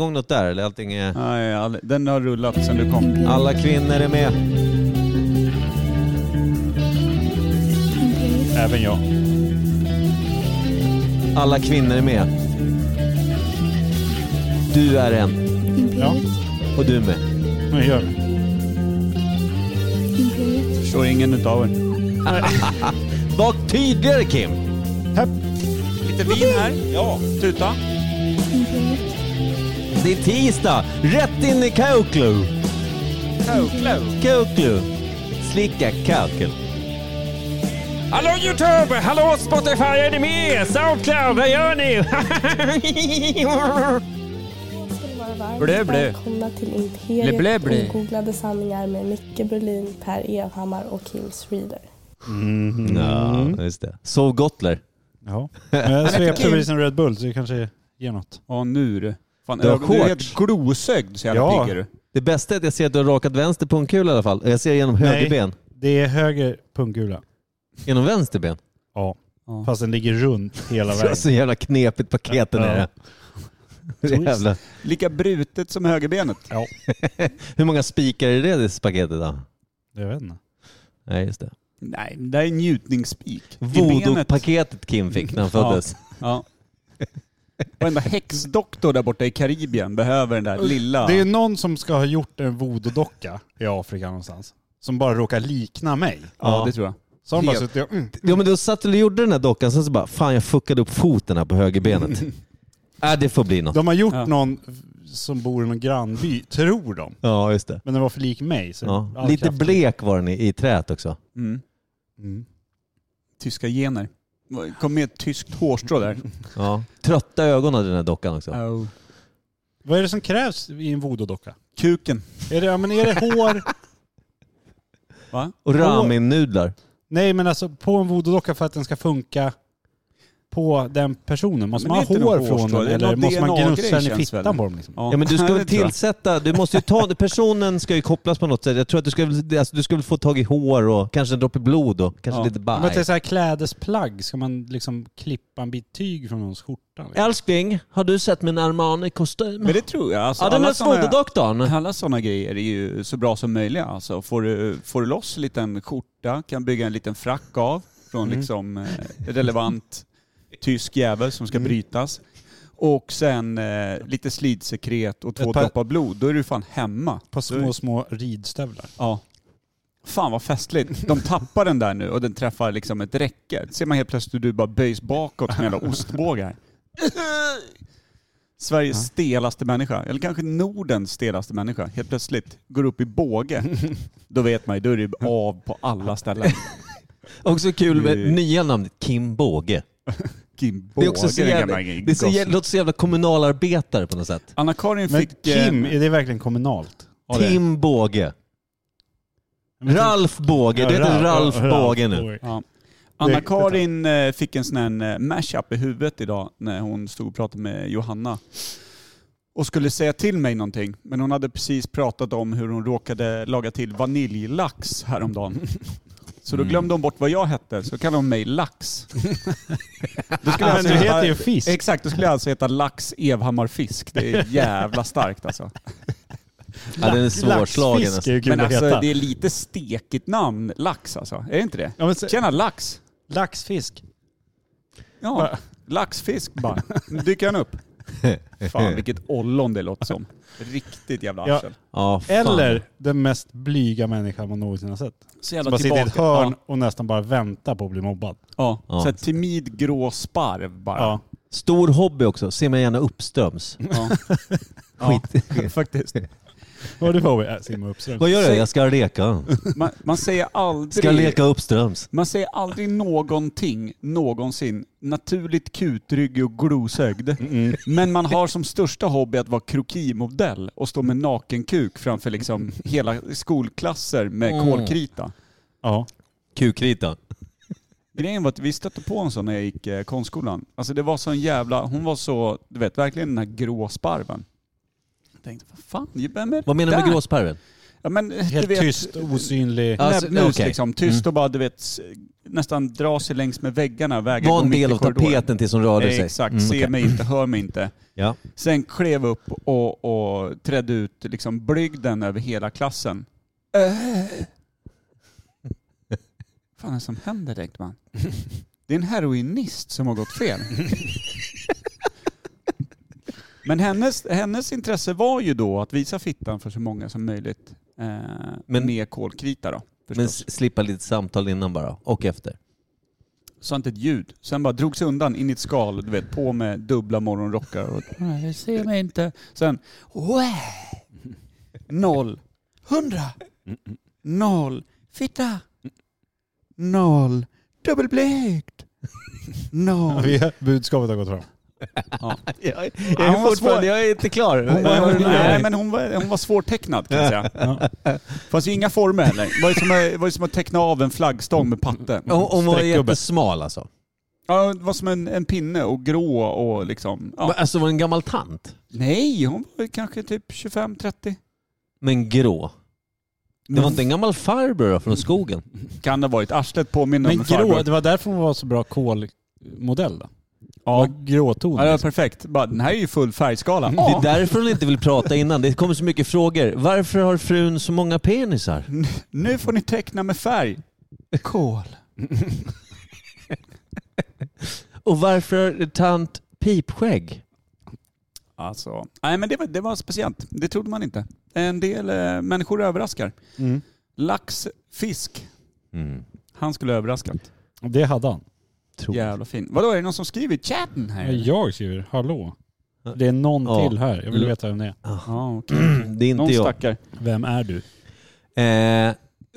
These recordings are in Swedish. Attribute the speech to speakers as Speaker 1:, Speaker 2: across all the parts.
Speaker 1: igång något där eller allting är...
Speaker 2: Nej, all- den har rullat sedan du kom.
Speaker 1: Alla kvinnor är med.
Speaker 2: Även jag.
Speaker 1: Alla kvinnor är med. Du är en
Speaker 2: Ja,
Speaker 1: och du är med.
Speaker 2: nu gör vi. Förstår ingen utav er.
Speaker 1: Var tydligare Kim!
Speaker 2: Hepp.
Speaker 3: Lite vin här. Ja. Tuta.
Speaker 1: Det är tisdag, rätt in i Kauklu.
Speaker 3: Kauklu.
Speaker 1: Kauklu. Slicka kaukel.
Speaker 3: Hallå Youtube! Hallå Spotify! Är ni med? Soundcloud, vad gör ni?
Speaker 4: skulle vara varmt
Speaker 3: Blä, blä.
Speaker 4: välkomna till Imperiet
Speaker 3: Blä, blä, blä.
Speaker 4: ogooglade sanningar med Micke Berlin, Per Evhammar och Kim Reader.
Speaker 1: Ja, just det. Sov Gottler.
Speaker 5: Ja. Men jag svepte precis en Red Bull så det kanske ger något.
Speaker 2: Ja, nu du. Fan,
Speaker 1: Du har
Speaker 2: ögon- du
Speaker 1: shorts.
Speaker 2: är helt glosögd så jävla
Speaker 5: Ja.
Speaker 2: pigg är du.
Speaker 1: Det bästa är att jag ser att du har rakat vänster pungkula i alla fall. Jag ser genom
Speaker 5: Nej.
Speaker 1: högerben.
Speaker 5: Det är höger pungkula.
Speaker 1: Genom vänster ben.
Speaker 5: Ja.
Speaker 2: Ja.
Speaker 5: Fast den ligger runt hela
Speaker 1: Så,
Speaker 5: vägen.
Speaker 1: så jävla knepigt paketen är det. det. är Jävla.
Speaker 2: Lika brutet som högerbenet.
Speaker 5: Ja,
Speaker 1: Hur många spikar är det i det paketet då?
Speaker 5: jag vet inte.
Speaker 1: Nej, just det.
Speaker 2: Nej, det där är njutningsspik. I benet.
Speaker 1: Voodoo-paketet Kim fick när han föddes.
Speaker 2: Ja. Varenda häxdoktor där borta i Karibien behöver den där lilla.
Speaker 5: Det är ju någon som ska ha gjort en voodoo-docka i Afrika någonstans. Som bara råkar likna mig.
Speaker 2: Ja, det tror jag.
Speaker 5: Så har de bara
Speaker 2: Helt-
Speaker 5: suttit och... Mm.
Speaker 1: Ja men då satt du och gjorde den här dockan, sen så bara fan jag fuckade upp foten här på högerbenet. Äh, det får bli något.
Speaker 5: De har gjort
Speaker 2: Ja.
Speaker 5: någon som bor i någon grannby, tror de.
Speaker 1: Ja just det.
Speaker 5: Men den var för lik mig. Så
Speaker 1: Ja.
Speaker 5: all
Speaker 1: Lite
Speaker 5: kraft-
Speaker 1: blek var den i, i träet också.
Speaker 2: Mm.
Speaker 5: Mm.
Speaker 2: Tyska gener. Kom med ett tyskt hårstrå där.
Speaker 1: Ja. Trötta ögon hade den här dockan också.
Speaker 2: Oh.
Speaker 5: Vad är det som krävs i en voodoo-docka?
Speaker 2: Kuken.
Speaker 5: Är det, ja, men är det hår?
Speaker 2: Va?
Speaker 1: Och ramen-nudlar.
Speaker 5: Nej men alltså på en voodoo-docka för att den ska funka på den personen. Måste
Speaker 2: Men det
Speaker 5: man
Speaker 2: är
Speaker 5: ha
Speaker 2: inte
Speaker 5: hår
Speaker 2: någon
Speaker 5: från
Speaker 2: hårstrå.
Speaker 5: den
Speaker 2: Det är
Speaker 5: eller
Speaker 2: någon
Speaker 5: måste man
Speaker 2: DNA-grej
Speaker 5: gnussa den i
Speaker 2: känns
Speaker 5: fittan
Speaker 2: väl?
Speaker 5: på dem? Liksom?
Speaker 1: Ja men du ska
Speaker 2: det
Speaker 1: väl
Speaker 2: tror jag.
Speaker 1: tillsätta, du måste ju ta, personen ska ju kopplas på något sätt. Jag tror att du ska, väl- alltså, du ska väl få tag i hår och kanske en droppe blod och kanske
Speaker 5: Ja.
Speaker 1: lite
Speaker 5: Men att det är
Speaker 1: baj.
Speaker 5: så här klädesplagg, ska man liksom klippa en bit tyg från någons skjorta? Liksom?
Speaker 1: Älskling, har du sett min Armani-kostym?
Speaker 2: Men det tror jag. Alltså,
Speaker 1: Ja den
Speaker 2: alla
Speaker 1: är
Speaker 2: såna-
Speaker 1: voodoo-doktorn.
Speaker 2: Alla sådana grejer är ju så bra som möjligt. Alltså, får, du, får du loss en liten skjorta, kan bygga en liten frack av från
Speaker 5: Mm.
Speaker 2: liksom, eh, relevant tysk jävel som ska
Speaker 5: Mm.
Speaker 2: brytas. Och sen eh, lite slidsekret och två
Speaker 5: Ett par-
Speaker 2: droppar blod. Då är du fan hemma.
Speaker 5: På små, små ridstövlar.
Speaker 2: Ja. Fan vad festligt. De tappar den där nu och den träffar liksom ett räcke. Ser man helt plötsligt hur du bara böjs bakåt som en jävla ostbågar. Sveriges stelaste människa, eller kanske Nordens stelaste människa, helt plötsligt går upp i båge. Då vet man ju, då är det av på alla ställen.
Speaker 1: Också kul med
Speaker 2: Mm.
Speaker 1: nya namnet Kim Båge.
Speaker 2: Kim
Speaker 1: Det,
Speaker 2: båge,
Speaker 1: är också så
Speaker 2: den
Speaker 1: jävla,
Speaker 2: gamla
Speaker 1: det är så jävla, låter så jävla kommunalarbetare på något sätt.
Speaker 2: Anna-Karin
Speaker 5: Men
Speaker 2: fick... eh,
Speaker 5: Kim, är det verkligen kommunalt?
Speaker 2: ja, det-
Speaker 1: Tim Båge.
Speaker 5: Men-
Speaker 1: Ralf Båge. Det heter Ralf Båge nu.
Speaker 2: Ja. Anna-Karin eh, fick en sån här eh, mashup i huvudet idag när hon stod och pratade med Johanna. Och skulle säga till mig någonting. Men hon hade precis pratat om hur hon råkade laga till vaniljlax häromdagen. Så
Speaker 5: Mm.
Speaker 2: då glömde hon bort vad jag hette, så kallade hon mig Lax. Då skulle jag
Speaker 5: Men du heter ju Fisk.
Speaker 2: Exakt, då skulle jag alltså heta Lax Evhammar Fisk. Det är jävla starkt alltså.
Speaker 1: Ja, den är svårslagen.
Speaker 5: Laxfisk
Speaker 1: alltså.
Speaker 5: är ju kul
Speaker 2: Men
Speaker 5: att heta.
Speaker 2: alltså det är lite stekigt namn, Lax alltså. Är det inte det?
Speaker 5: Ja, men se-
Speaker 2: Tjena Lax!
Speaker 5: Laxfisk.
Speaker 2: Ja, laxfisk bara. Nu dyker han upp. Fan vilket ollon det låter som. Riktigt jävla
Speaker 5: Ja.
Speaker 2: arsel.
Speaker 1: Ja, fan.
Speaker 5: Eller den mest blyga människan man någonsin har sett.
Speaker 2: Så
Speaker 5: Som
Speaker 2: jävla
Speaker 5: bara sitter i ett
Speaker 2: tillbaka.
Speaker 5: hörn och nästan bara väntar på att bli mobbad.
Speaker 2: Ja,
Speaker 1: Ja.
Speaker 2: ja. Så här timid grå sparv bara.
Speaker 5: Ja.
Speaker 1: Stor hobby också. Ser man gärna uppströms.
Speaker 2: Ja.
Speaker 1: Skit.
Speaker 2: faktiskt.
Speaker 5: Vad har du för hobby? Äh, Simma Uppström.
Speaker 1: Vad gör du? Jag ska leka.
Speaker 2: Man, man säger aldrig...
Speaker 1: Ska leka uppströms.
Speaker 2: Man säger aldrig någonting någonsin naturligt kutryggig och glosögd.
Speaker 5: Mm.
Speaker 2: Men man har som största hobby att vara krokimodell och stå med nakenkuk framför liksom hela skolklasser med
Speaker 1: Mm.
Speaker 2: kolkrita.
Speaker 5: Ja.
Speaker 1: Kukrita.
Speaker 2: Grejen var att vi stötte på en sån när jag gick eh, konstskolan. Alltså det var sån jävla, hon var så, du vet verkligen den här grå sparven. Jag tänkte, vad fan, vem är det
Speaker 1: Vad menar du med
Speaker 2: där?
Speaker 1: gråsparven?
Speaker 2: Ja, men, du
Speaker 5: Helt
Speaker 2: vet,
Speaker 5: tyst, osynlig.
Speaker 1: Ja. Alltså,
Speaker 2: Näbbmus
Speaker 1: okej. Mm.
Speaker 2: liksom. Tyst och bara du vet, s- nästan dra sig längs med väggarna. Vägar
Speaker 1: Var
Speaker 2: går
Speaker 1: en
Speaker 2: mitt
Speaker 1: del
Speaker 2: i
Speaker 1: av
Speaker 2: korridoren.
Speaker 1: tapeten tills hon rörde sig.
Speaker 2: Exakt,
Speaker 1: Mm,
Speaker 2: se
Speaker 1: okej.
Speaker 2: mig inte, hör mig inte.
Speaker 1: Ja.
Speaker 2: Sen klev upp och, och trädde ut liksom blygden över hela klassen. Äh. fan är det som händer Ekman? Det är en heroinist som har gått fel. Men hennes, hennes intresse var ju då att visa fittan för så många som möjligt. Eh,
Speaker 1: Men-
Speaker 2: med kolkrita då.
Speaker 1: Men
Speaker 2: Förstås.
Speaker 1: s- slippa lite samtal innan bara, och efter.
Speaker 2: Sa inte ett ljud. Sen bara drogs undan in i ett skal, du vet, på med dubbla morgonrockar. Och, Nej, se mig inte. Sen, Wä! Noll. Hundra. Noll. Fitta. Noll. Dubbelblekt. Noll.
Speaker 5: Vi har- Budskapet har gått fram.
Speaker 1: Jag
Speaker 2: hon var svår.
Speaker 1: jag är inte klar.
Speaker 2: Hon var,
Speaker 5: Vad var det
Speaker 2: nej,
Speaker 5: där?
Speaker 2: men hon var, hon var svårtecknad kan jag säga. Fanns ju inga former heller. Det var ju som, att- det var ju som att teckna av en flaggstång med patte.
Speaker 1: Hon, hon var
Speaker 5: Streckgubbe.
Speaker 1: jättesmal alltså.
Speaker 2: Ja, det var som en, en pinne och grå och liksom... Ja.
Speaker 1: Men Alltså var det en gammal tant.
Speaker 2: Nej, hon var kanske typ 25-30.
Speaker 1: Men grå. Det var inte en gammal farbror då, från skogen.
Speaker 2: Mm. Kan det ha varit. Arslet påminner om
Speaker 5: Men
Speaker 2: en
Speaker 5: grå,
Speaker 2: farbror.
Speaker 5: det var därför hon var så bra kolmodell då?
Speaker 2: Ja. ja,
Speaker 5: Var
Speaker 2: det var
Speaker 5: gråton.
Speaker 2: perfekt. Bara, den här är ju full färgskala.
Speaker 1: Det
Speaker 2: Ja.
Speaker 1: är därför hon inte vill prata innan. Det kommer så mycket frågor. Varför har frun så många penisar?
Speaker 2: Nu får ni teckna med färg. Kol.
Speaker 1: Och varför har tant pipskägg?
Speaker 2: Alltså. Nej, men det var, det var speciellt. Det trodde man inte. En del eh, människor överraskar.
Speaker 5: Mm.
Speaker 2: Lax, fisk.
Speaker 1: Mm.
Speaker 2: Han skulle ha överraskat.
Speaker 5: Det hade han.
Speaker 1: Tror jag.
Speaker 2: Jävla fin. Vadå, är det någon som skriver i chatten här?
Speaker 5: Men Jag skriver, hallå. Det är någon
Speaker 1: Ja.
Speaker 5: till här. Jag vill veta vem det är.
Speaker 2: Ja, okej.
Speaker 1: Det är
Speaker 2: Någon
Speaker 1: inte jag.
Speaker 2: stackare.
Speaker 5: Vem är du?
Speaker 1: Eh,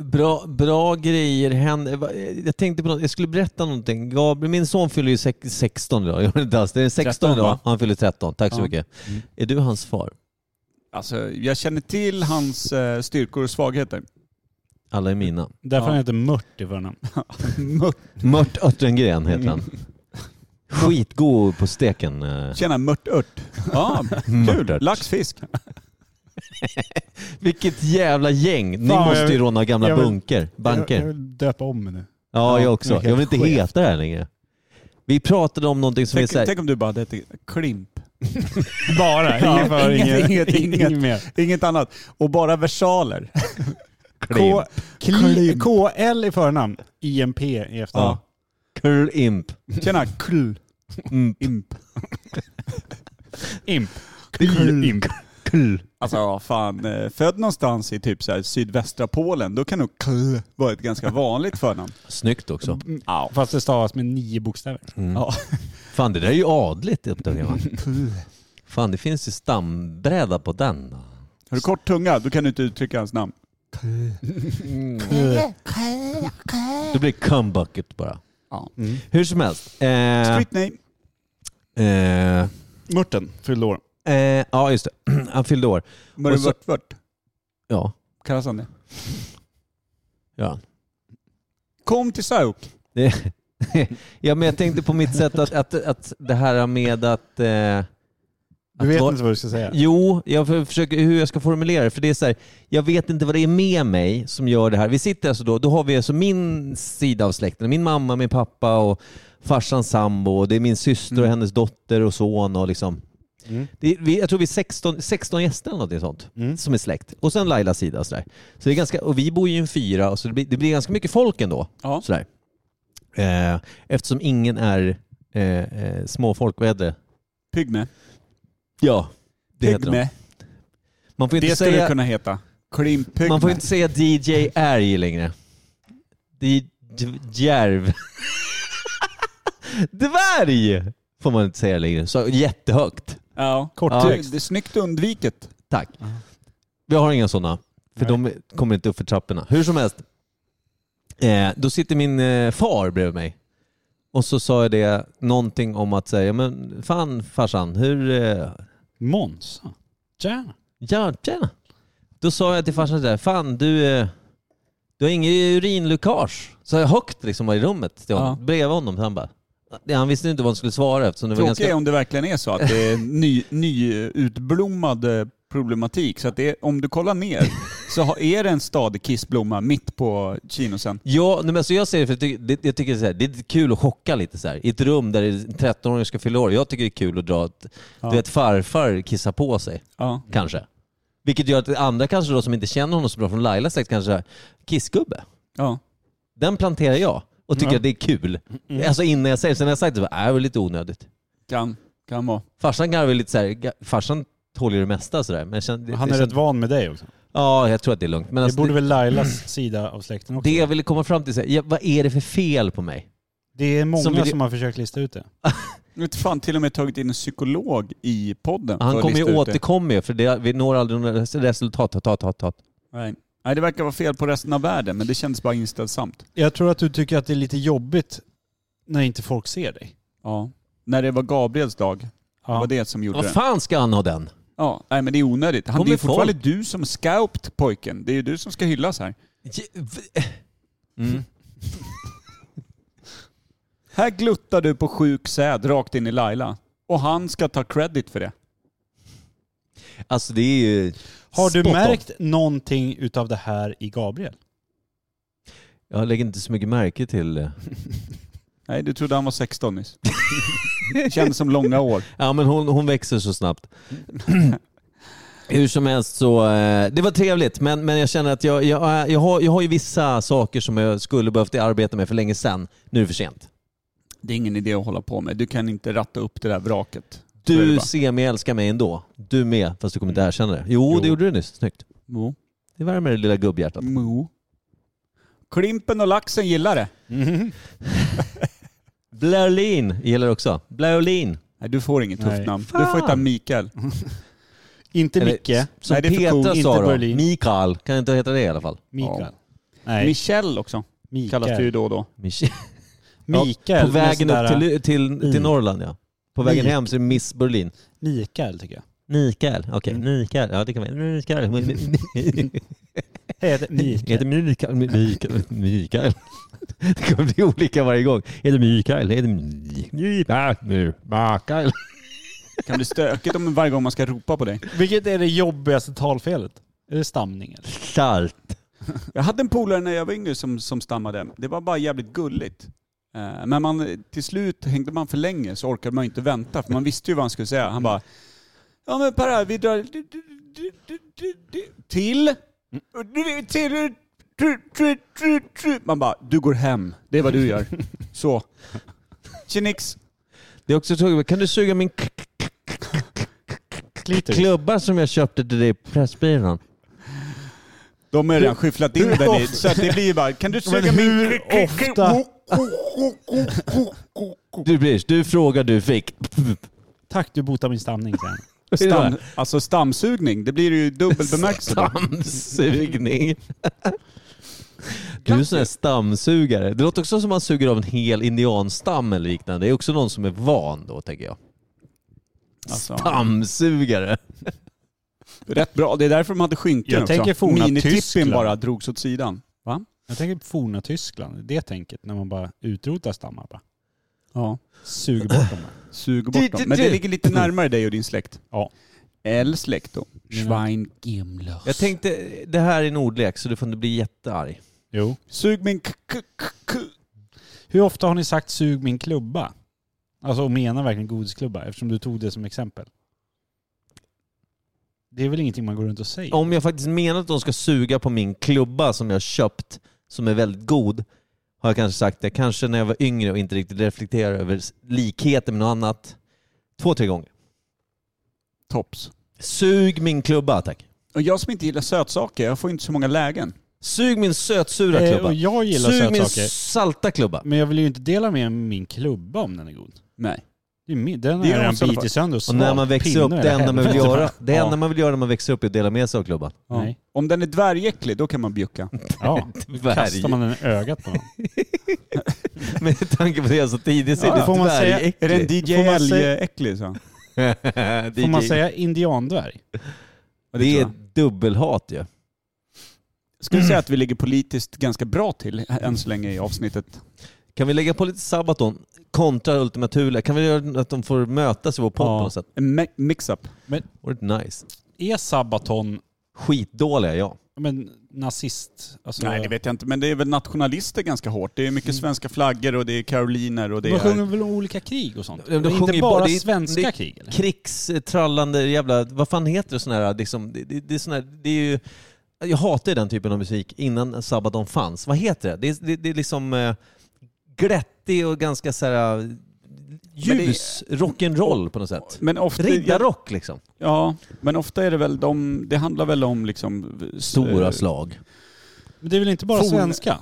Speaker 1: bra, bra grejer händer. Va- eh, Jag tänkte på något. Jag skulle berätta någonting. Gabriel, min son fyller ju sex- 16 idag. Gör det inte alls. Det är 16
Speaker 2: 13,
Speaker 1: idag.
Speaker 2: va?
Speaker 1: Han fyller 13. Tack så
Speaker 2: Ja.
Speaker 1: mycket.
Speaker 5: Mm.
Speaker 1: Är du hans far?
Speaker 2: Alltså, jag känner till hans eh, styrkor och svagheter.
Speaker 1: Alla är mina.
Speaker 5: Därför
Speaker 2: Ja.
Speaker 5: han heter Mört i förnamn.
Speaker 2: Mört,
Speaker 1: Mört Örtengren heter han. Skitgod på steken. eh.
Speaker 2: tjena, mörtört. Ja, kul.
Speaker 1: Mörtört.
Speaker 2: Lax, fisk.
Speaker 1: Vilket jävla gäng. Ni
Speaker 5: Fan,
Speaker 1: måste
Speaker 5: jag
Speaker 1: ju
Speaker 5: vill-
Speaker 1: råna gamla
Speaker 5: jag vill-
Speaker 1: bunker. banker.
Speaker 5: Jag, jag vill döpa om mig nu.
Speaker 1: ja, jag också.
Speaker 5: jag är
Speaker 1: Jag vill inte
Speaker 5: helt
Speaker 1: heta det här längre. Vi pratade om någonting som
Speaker 2: Tänk,
Speaker 1: är så här,
Speaker 2: tänk om du bara hade heter Klimp.
Speaker 5: Bara?
Speaker 2: Ja,
Speaker 5: Inget för,
Speaker 2: inget,
Speaker 5: inget,
Speaker 2: inget,
Speaker 5: inget,
Speaker 2: inget.
Speaker 5: mer.
Speaker 2: Inget annat. Och bara versaler.
Speaker 5: K,
Speaker 1: Klimp.
Speaker 5: kli, KL i förnamn, IMP i efternamn.
Speaker 1: Klimp.
Speaker 2: Tjena, kl.
Speaker 1: Mm.
Speaker 2: Imp.
Speaker 5: Imp.
Speaker 1: Kl-
Speaker 5: Imp.
Speaker 1: Kl.
Speaker 2: Alltså ja, fan, eh, född någonstans i typ så här sydvästra Polen, då kan nog kl vara ett ganska vanligt förnamn.
Speaker 1: Snyggt också.
Speaker 2: Ja.
Speaker 5: Fast det stavas med nio bokstäver.
Speaker 2: Ja.
Speaker 1: Fan det där är ju adligt upptäcker man.
Speaker 5: Mm.
Speaker 1: Fan det finns ju stambräda på den.
Speaker 2: Har du kort tunga, då kan du inte uttrycka hans namn.
Speaker 1: Det blir comebucket bara.
Speaker 2: Ja.
Speaker 1: Hur som helst. Eh,
Speaker 2: Britney.
Speaker 1: eh,
Speaker 5: Mörten fyllde år.
Speaker 1: eh, ja just det, han fyllde år. och så-
Speaker 2: Mörvörtvört.
Speaker 1: Ja,
Speaker 2: Kallas han det?
Speaker 1: ja.
Speaker 2: Kom till Sauk.
Speaker 1: Det, ja men jag tänkte på mitt sätt att, att, att det här med att... Eh,
Speaker 5: Du
Speaker 1: Att
Speaker 5: vet
Speaker 1: var-
Speaker 5: inte vad du ska säga.
Speaker 1: Jo, jag för- försöker hur jag ska formulera det. För det är så här, jag vet inte vad det är med mig som gör det här. Vi sitter alltså då, då har vi alltså min sida av släkten. Min mamma, min pappa och farsans sambo. Och det är min syster och hennes dotter och son. Och liksom.
Speaker 5: Mm.
Speaker 1: det är, vi, jag tror vi är 16, 16 gäster eller något sånt
Speaker 5: Mm.
Speaker 1: som är släkt. Och sen Lailas sida. Och, så där. Så det är ganska, och vi bor ju i en fyra, och så det, blir, det blir ganska mycket folk ändå.
Speaker 2: Ja.
Speaker 1: Så där. Eh, eftersom ingen är eh, eh, småfolk, vad heter det?
Speaker 2: Pygme.
Speaker 1: Ja, det heter de.
Speaker 2: Pygme.
Speaker 1: Man får ju inte
Speaker 2: Det skulle
Speaker 1: säga...
Speaker 2: du kunna heta. Klimp Pygme.
Speaker 1: Man får inte säga DJ Ärg längre. DJ Djärv. Dvärg får man inte säga längre. Så jättehögt.
Speaker 2: Ja.
Speaker 5: Kort
Speaker 1: Ja.
Speaker 2: Det,
Speaker 5: text.
Speaker 2: det är snyggt undviket.
Speaker 1: Tack. Vi har inga sådana. För
Speaker 5: Nej.
Speaker 1: de kommer inte upp för trapporna. Hur som helst. Eh, då sitter min eh, far bredvid mig. Och så sa jag det någonting om att säga, men fan farsan, hur... Eh,
Speaker 5: Monza. Tjena.
Speaker 1: ja, tjena. Då sa jag till farsan sådär, fan du... Eh, Du har ingen urinläckage. Så jag högt liksom var i rummet till honom,
Speaker 2: Ja.
Speaker 1: bredvid honom. Så han bara, han visste inte vad han skulle svara eftersom det var
Speaker 2: Tråkigt är
Speaker 1: ganska...
Speaker 2: om det verkligen är så att det är ny, nyutblommad eh, problematik. Så att det är, om du kollar ner så har- är det en stadig kissblomma mitt på chinosen.
Speaker 1: Ja, nej, men alltså jag säger det för jag tycker, det, jag tycker så här, det är kul att chocka lite så här. I ett rum där en 13-åring ska fylla år. Jag tycker det är kul att dra att du vet, farfar kissar på sig,
Speaker 2: Ja.
Speaker 1: kanske. Vilket gör att andra kanske då som inte känner honom så bra från Lailas släkt kanske så här, kissgubbe.
Speaker 2: Ja.
Speaker 1: Den planterar jag och tycker
Speaker 5: Ja. Mm.
Speaker 1: att det är kul. Alltså innan jag säger det. Sen när jag sagt det så bara, "Äh, det var lite onödigt.
Speaker 2: Kan, kan vara.
Speaker 1: Farsan garvar lite så här, ga- farsan tål ju det mesta sådär. Men jag kände,
Speaker 5: Han
Speaker 1: det
Speaker 5: är
Speaker 1: kände-
Speaker 5: rätt van med dig också.
Speaker 1: Ja, jag tror att det är lugnt. Men
Speaker 5: Det
Speaker 1: alltså,
Speaker 5: borde
Speaker 1: det,
Speaker 5: väl Lailas sida av släkten också?
Speaker 1: det jag ville komma fram till, så här, ja, vad är det för fel på mig?
Speaker 5: Det är många
Speaker 1: Som
Speaker 5: som,
Speaker 1: vill-
Speaker 5: har försökt lista ut det.
Speaker 2: Jag vet fan till och med tagit in en psykolog i podden. för
Speaker 1: Han
Speaker 2: att
Speaker 1: kommer
Speaker 2: lista
Speaker 1: ju
Speaker 2: ut det.
Speaker 1: återkomma ju, för det, vi når aldrig några res- resultat. Hat, hat, hat, hat.
Speaker 2: Nej. Nej, det verkar vara fel på resten av världen, men det kändes bara inställsamt.
Speaker 5: Jag tror att du tycker att det är lite jobbigt när inte folk ser dig.
Speaker 2: Ja. När det var Gabriels dag, det var det som gjorde
Speaker 1: Vad
Speaker 2: det.
Speaker 1: fan ska han ha den?
Speaker 2: Ja, nej men det är onödigt. Han,
Speaker 1: Kommer
Speaker 2: det är fortfarande
Speaker 1: folk.
Speaker 2: du som scout pojken. Det är ju du som ska hyllas här.
Speaker 1: Je- v- Mm.
Speaker 2: Här gluttar du på sjuk säd rakt in i Laila. Och han ska ta credit för det.
Speaker 1: Alltså det är ju...
Speaker 5: Har du
Speaker 1: spot on.
Speaker 5: märkt någonting utav det här i Gabriel?
Speaker 1: Jag lägger inte så mycket märke till det.
Speaker 2: Nej, du trodde han var 16 nyss. Känns som långa år.
Speaker 1: Ja men hon, hon växer så snabbt. Hur som helst så, eh, det var trevligt men, men jag känner att jag, jag, jag, har, jag har ju vissa saker som jag skulle behövt arbeta med för länge sedan. Nu är det för sent.
Speaker 2: Det är ingen idé att hålla på med. Du kan inte ratta upp det där vraket. Så är det
Speaker 1: Du
Speaker 2: bara.
Speaker 1: ser mig älska mig ändå. Du med, fast du kommer inte erkänna det. Jo, det
Speaker 2: Jo.
Speaker 1: gjorde du nyss. Snyggt.
Speaker 2: Mo.
Speaker 1: Det värmer det lilla gubbhjärtat.
Speaker 2: Mo. Klimpen och laxen gillar det.
Speaker 5: Mhm.
Speaker 1: Blairlin gillar det också. Blairlin.
Speaker 2: Nej, du får inget tufft
Speaker 5: Nej.
Speaker 2: namn. Du får heta
Speaker 1: Fan.
Speaker 2: Mikael.
Speaker 5: Inte
Speaker 1: Eller-
Speaker 5: Micke,
Speaker 1: Som
Speaker 2: Nej, det är för
Speaker 1: Petra
Speaker 2: coolt.
Speaker 5: Inte
Speaker 1: sa då.
Speaker 5: Berlin.
Speaker 1: Mikael. Kan inte heta det i alla fall?
Speaker 5: Mikael.
Speaker 2: Ja.
Speaker 5: Nej,
Speaker 2: Michelle också. Kallas du ju
Speaker 5: Mikael.
Speaker 2: då och då.
Speaker 1: Mich-
Speaker 5: Mikael.
Speaker 1: På vägen
Speaker 5: med
Speaker 1: upp
Speaker 5: sådär-
Speaker 1: till, till, till
Speaker 5: Mm.
Speaker 1: Norrland ja. På vägen
Speaker 5: Mik-
Speaker 1: hem så är det Miss Berlin.
Speaker 5: Mikael tycker jag.
Speaker 1: Mikael, okej. Mikael, ja det kan vara. Mikael.
Speaker 5: Hej, jag heter
Speaker 1: Heter
Speaker 5: Mikael.
Speaker 1: Mm. Mikael. Mikael. Mikael. Det kommer bli olika varje gång. Heter Mikael. Heter Mikael. Äh, Mikael.
Speaker 2: Det kan bli stökigt om varje gång man ska ropa på dig.
Speaker 5: Vilket är det jobbigaste talfelet? Är det stamning eller?
Speaker 1: Salt.
Speaker 2: Jag hade en polare när jag var yngre som, som stammade. Det var bara jävligt gulligt. Eh, Men man, till slut hängde man för länge så orkade man inte vänta för man visste ju vad han skulle säga. Han bara Ja men Per, vi drar du- du- du- du- du- du- till... du- till- du- du- du- du." Man bara, du går hem. Det är vad du gör. Så. Tjenix.
Speaker 1: Det är också tråkigt. Kan du suga min k-
Speaker 5: Klitoris.
Speaker 1: klubba som jag köpte till dig i Pressbyrån?
Speaker 2: De har redan skyfflat in
Speaker 5: hur
Speaker 2: den i,
Speaker 5: ofta-
Speaker 2: så att det blir bara, kan du
Speaker 5: Men
Speaker 2: suga min...
Speaker 5: hur ofta...
Speaker 1: Du, Brish, du frågar, du fick.
Speaker 5: Tack, du botar min stamning sen.
Speaker 2: Stam, alltså stamsugning, det blir ju dubbel bemärkelse. bara.
Speaker 1: Stamsugning. Du är en sån här stamsugare. Det låter också som att man suger av en hel indianstam eller liknande. Det är också någon som är van då, tänker jag.
Speaker 2: Alltså.
Speaker 1: Stamsugare.
Speaker 2: Rätt bra. Det är därför de hade skynken
Speaker 5: Jag
Speaker 2: också.
Speaker 5: tänker forna
Speaker 2: Minitippin
Speaker 5: Tyskland.
Speaker 2: bara drogs åt sidan. Va?
Speaker 5: Jag tänker på forna Tyskland, det tänket när man bara utrotar stammar bara.
Speaker 2: Ja.
Speaker 5: Suger bort dem. bara.
Speaker 2: Sug
Speaker 1: Du,
Speaker 2: bort
Speaker 1: du,
Speaker 2: dem. Men det
Speaker 1: du.
Speaker 2: ligger lite närmare dig och din släkt.
Speaker 5: Ja.
Speaker 2: Eller släkt då.
Speaker 5: Mina-
Speaker 2: Schweingimler.
Speaker 1: Jag tänkte, det här är en ordlek så du får inte bli jättearg.
Speaker 5: Jo.
Speaker 2: Sug min k- k- k- k-
Speaker 5: Hur ofta har ni sagt sug min klubba? Alltså och menar verkligen godisklubba eftersom du tog det som exempel. Det är väl ingenting man går runt och säger?
Speaker 1: Om jag faktiskt menar att de ska suga på min klubba som jag köpt, som är väldigt god, har jag kanske sagt det. Kanske när jag var yngre och inte riktigt reflekterade över likheten med något annat. Två, tre gånger.
Speaker 2: Tops.
Speaker 1: Sug min klubba, tack.
Speaker 2: Och jag som inte gillar sötsaker, jag får inte så många lägen.
Speaker 1: Sug min sötsura
Speaker 5: Eh,
Speaker 1: klubba.
Speaker 5: och jag gillar
Speaker 1: Sug min
Speaker 5: sötsaker. Mm,
Speaker 1: salta klubba.
Speaker 5: Men jag vill ju inte dela med min klubba om den är god.
Speaker 2: Nej.
Speaker 5: Det är min, den
Speaker 2: Det är
Speaker 5: har jag
Speaker 2: de
Speaker 5: redan
Speaker 2: som-
Speaker 5: bitit sönder
Speaker 1: Och
Speaker 5: svalt.
Speaker 1: när man växer
Speaker 5: Pinnar
Speaker 1: upp,
Speaker 5: i
Speaker 1: det enda man vill
Speaker 5: helvete.
Speaker 1: göra, det
Speaker 5: Ja.
Speaker 1: enda man vill göra när man växer upp är att dela med sig av klubban.
Speaker 2: Ja.
Speaker 5: Nej.
Speaker 2: Om den är dvärgäcklig, då kan man bjucka.
Speaker 5: Ja. Kastar man den i ögat på någon.
Speaker 1: Med tanke på det jag sa tidigt så är
Speaker 5: Ja,
Speaker 1: det
Speaker 5: får man säga-
Speaker 2: Är den
Speaker 1: dvärgäcklig.
Speaker 2: DJ
Speaker 5: Får man säga-
Speaker 2: Elg-äcklig så?
Speaker 1: DJ?
Speaker 5: Får man säga indiandvärg?
Speaker 1: Det
Speaker 2: tror
Speaker 1: är
Speaker 2: jag.
Speaker 1: dubbelhat ju.
Speaker 2: Ska
Speaker 5: mm.
Speaker 2: vi säga att vi ligger politiskt ganska bra till än så länge i avsnittet?
Speaker 1: Kan vi lägga på lite Sabaton kontra Ultima Thule? Kan vi göra att de får mötas i vår podd på något sätt?
Speaker 2: En mi- mix-up.
Speaker 1: Vore det nice?
Speaker 5: Är Sabaton
Speaker 1: Skitdåliga ja.
Speaker 5: men nazist. Alltså,
Speaker 2: Nej det vet jag inte, men det är väl nationalister ganska hårt. Det är mycket svenska flaggor och det är karoliner och det
Speaker 5: de Mm. sjunger
Speaker 2: är...
Speaker 5: väl om olika krig och sånt?
Speaker 1: De- de sjunger
Speaker 5: inte
Speaker 1: ju
Speaker 5: bara
Speaker 1: det är-
Speaker 5: svenska
Speaker 1: det är
Speaker 5: krig? Eller?
Speaker 1: Krigstrallande jävla, vad fan heter det sån här, liksom, det, det, det, är sån här, det är ju, jag hatar ju den typen av musik innan Sabaton fanns. Vad heter det? Det, är- det, det är liksom eh, glättig och ganska så här eh, ljus rock'n'roll på något sätt.
Speaker 2: Men ofta,
Speaker 1: Riddarrock liksom.
Speaker 2: ja, men ofta är det väl de, det handlar väl om liksom...
Speaker 1: Stora
Speaker 2: eh,
Speaker 1: slag.
Speaker 5: Men det är väl inte bara
Speaker 2: Forn-
Speaker 5: svenska?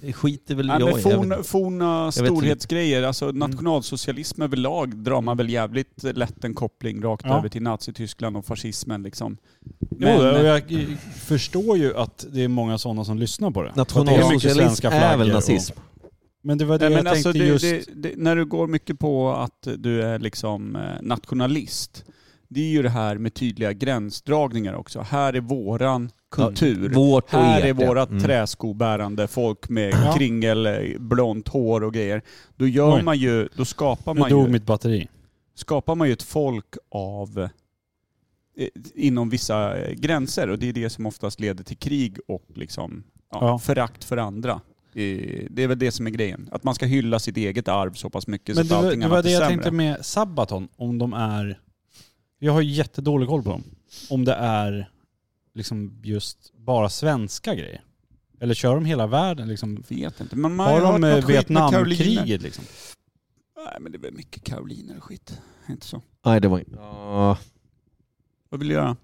Speaker 1: Det skiter väl
Speaker 2: Nej,
Speaker 1: jag
Speaker 2: men
Speaker 1: i. Jag vet
Speaker 2: forn,
Speaker 1: inte.
Speaker 2: forna
Speaker 1: Jag vet
Speaker 2: storhetsgrejer, alltså
Speaker 5: Mm.
Speaker 2: nationalsocialism överlag drar man väl jävligt lätt en koppling rakt
Speaker 5: Ja.
Speaker 2: över till Nazityskland och fascismen liksom.
Speaker 5: Men,
Speaker 2: Men,
Speaker 5: jo, och jag eh, förstår ju att det är många sådana som lyssnar på det. För att det är mycket
Speaker 1: Nationalsocialism
Speaker 5: svenska
Speaker 1: är väl
Speaker 5: flaggor
Speaker 1: nazism?
Speaker 5: Och, men det var det
Speaker 2: Nej,
Speaker 5: jag
Speaker 2: men
Speaker 5: tänkte
Speaker 2: alltså, det,
Speaker 5: just.
Speaker 2: det, det, när du går mycket på att du är liksom eh, nationalist, det är ju det här med tydliga gränsdragningar också. Här är våran kultur.
Speaker 1: Vårt och
Speaker 2: Här
Speaker 1: ert,
Speaker 2: är
Speaker 1: ja.
Speaker 2: vårat
Speaker 1: Mm.
Speaker 2: träskobärande folk med
Speaker 5: Ja.
Speaker 2: kringel, eh, blont hår och grejer. Då gör
Speaker 5: Oj.
Speaker 2: man ju, då skapar
Speaker 5: nu
Speaker 2: man ju
Speaker 5: dog mitt batteri.
Speaker 2: skapar man ju ett folk av eh, inom vissa eh, gränser och det är det som oftast leder till krig och liksom, ja,
Speaker 5: Ja.
Speaker 2: förakt för andra. Eh, Det är väl det som är grejen. Att man ska hylla sitt eget arv så pass mycket
Speaker 5: Men
Speaker 2: så
Speaker 5: det,
Speaker 2: att
Speaker 5: var-
Speaker 2: allting
Speaker 5: det var
Speaker 2: annat
Speaker 5: det
Speaker 2: är
Speaker 5: jag
Speaker 2: sämre.
Speaker 5: tänkte med Sabaton, om de är... Jag har ju jättedålig koll på dem. Om det är liksom just bara svenska grejer. Eller kör de hela världen liksom?
Speaker 2: Jag vet inte. Men man
Speaker 5: Har
Speaker 2: hört
Speaker 5: de
Speaker 2: något
Speaker 5: eh,
Speaker 2: skit med karoliner.
Speaker 5: Vietnamkriget liksom?
Speaker 2: Nej men det är väl mycket karoliner och skit. Inte så.
Speaker 1: Nej, det var inte... Ja.
Speaker 2: Vad vill du göra?
Speaker 5: Han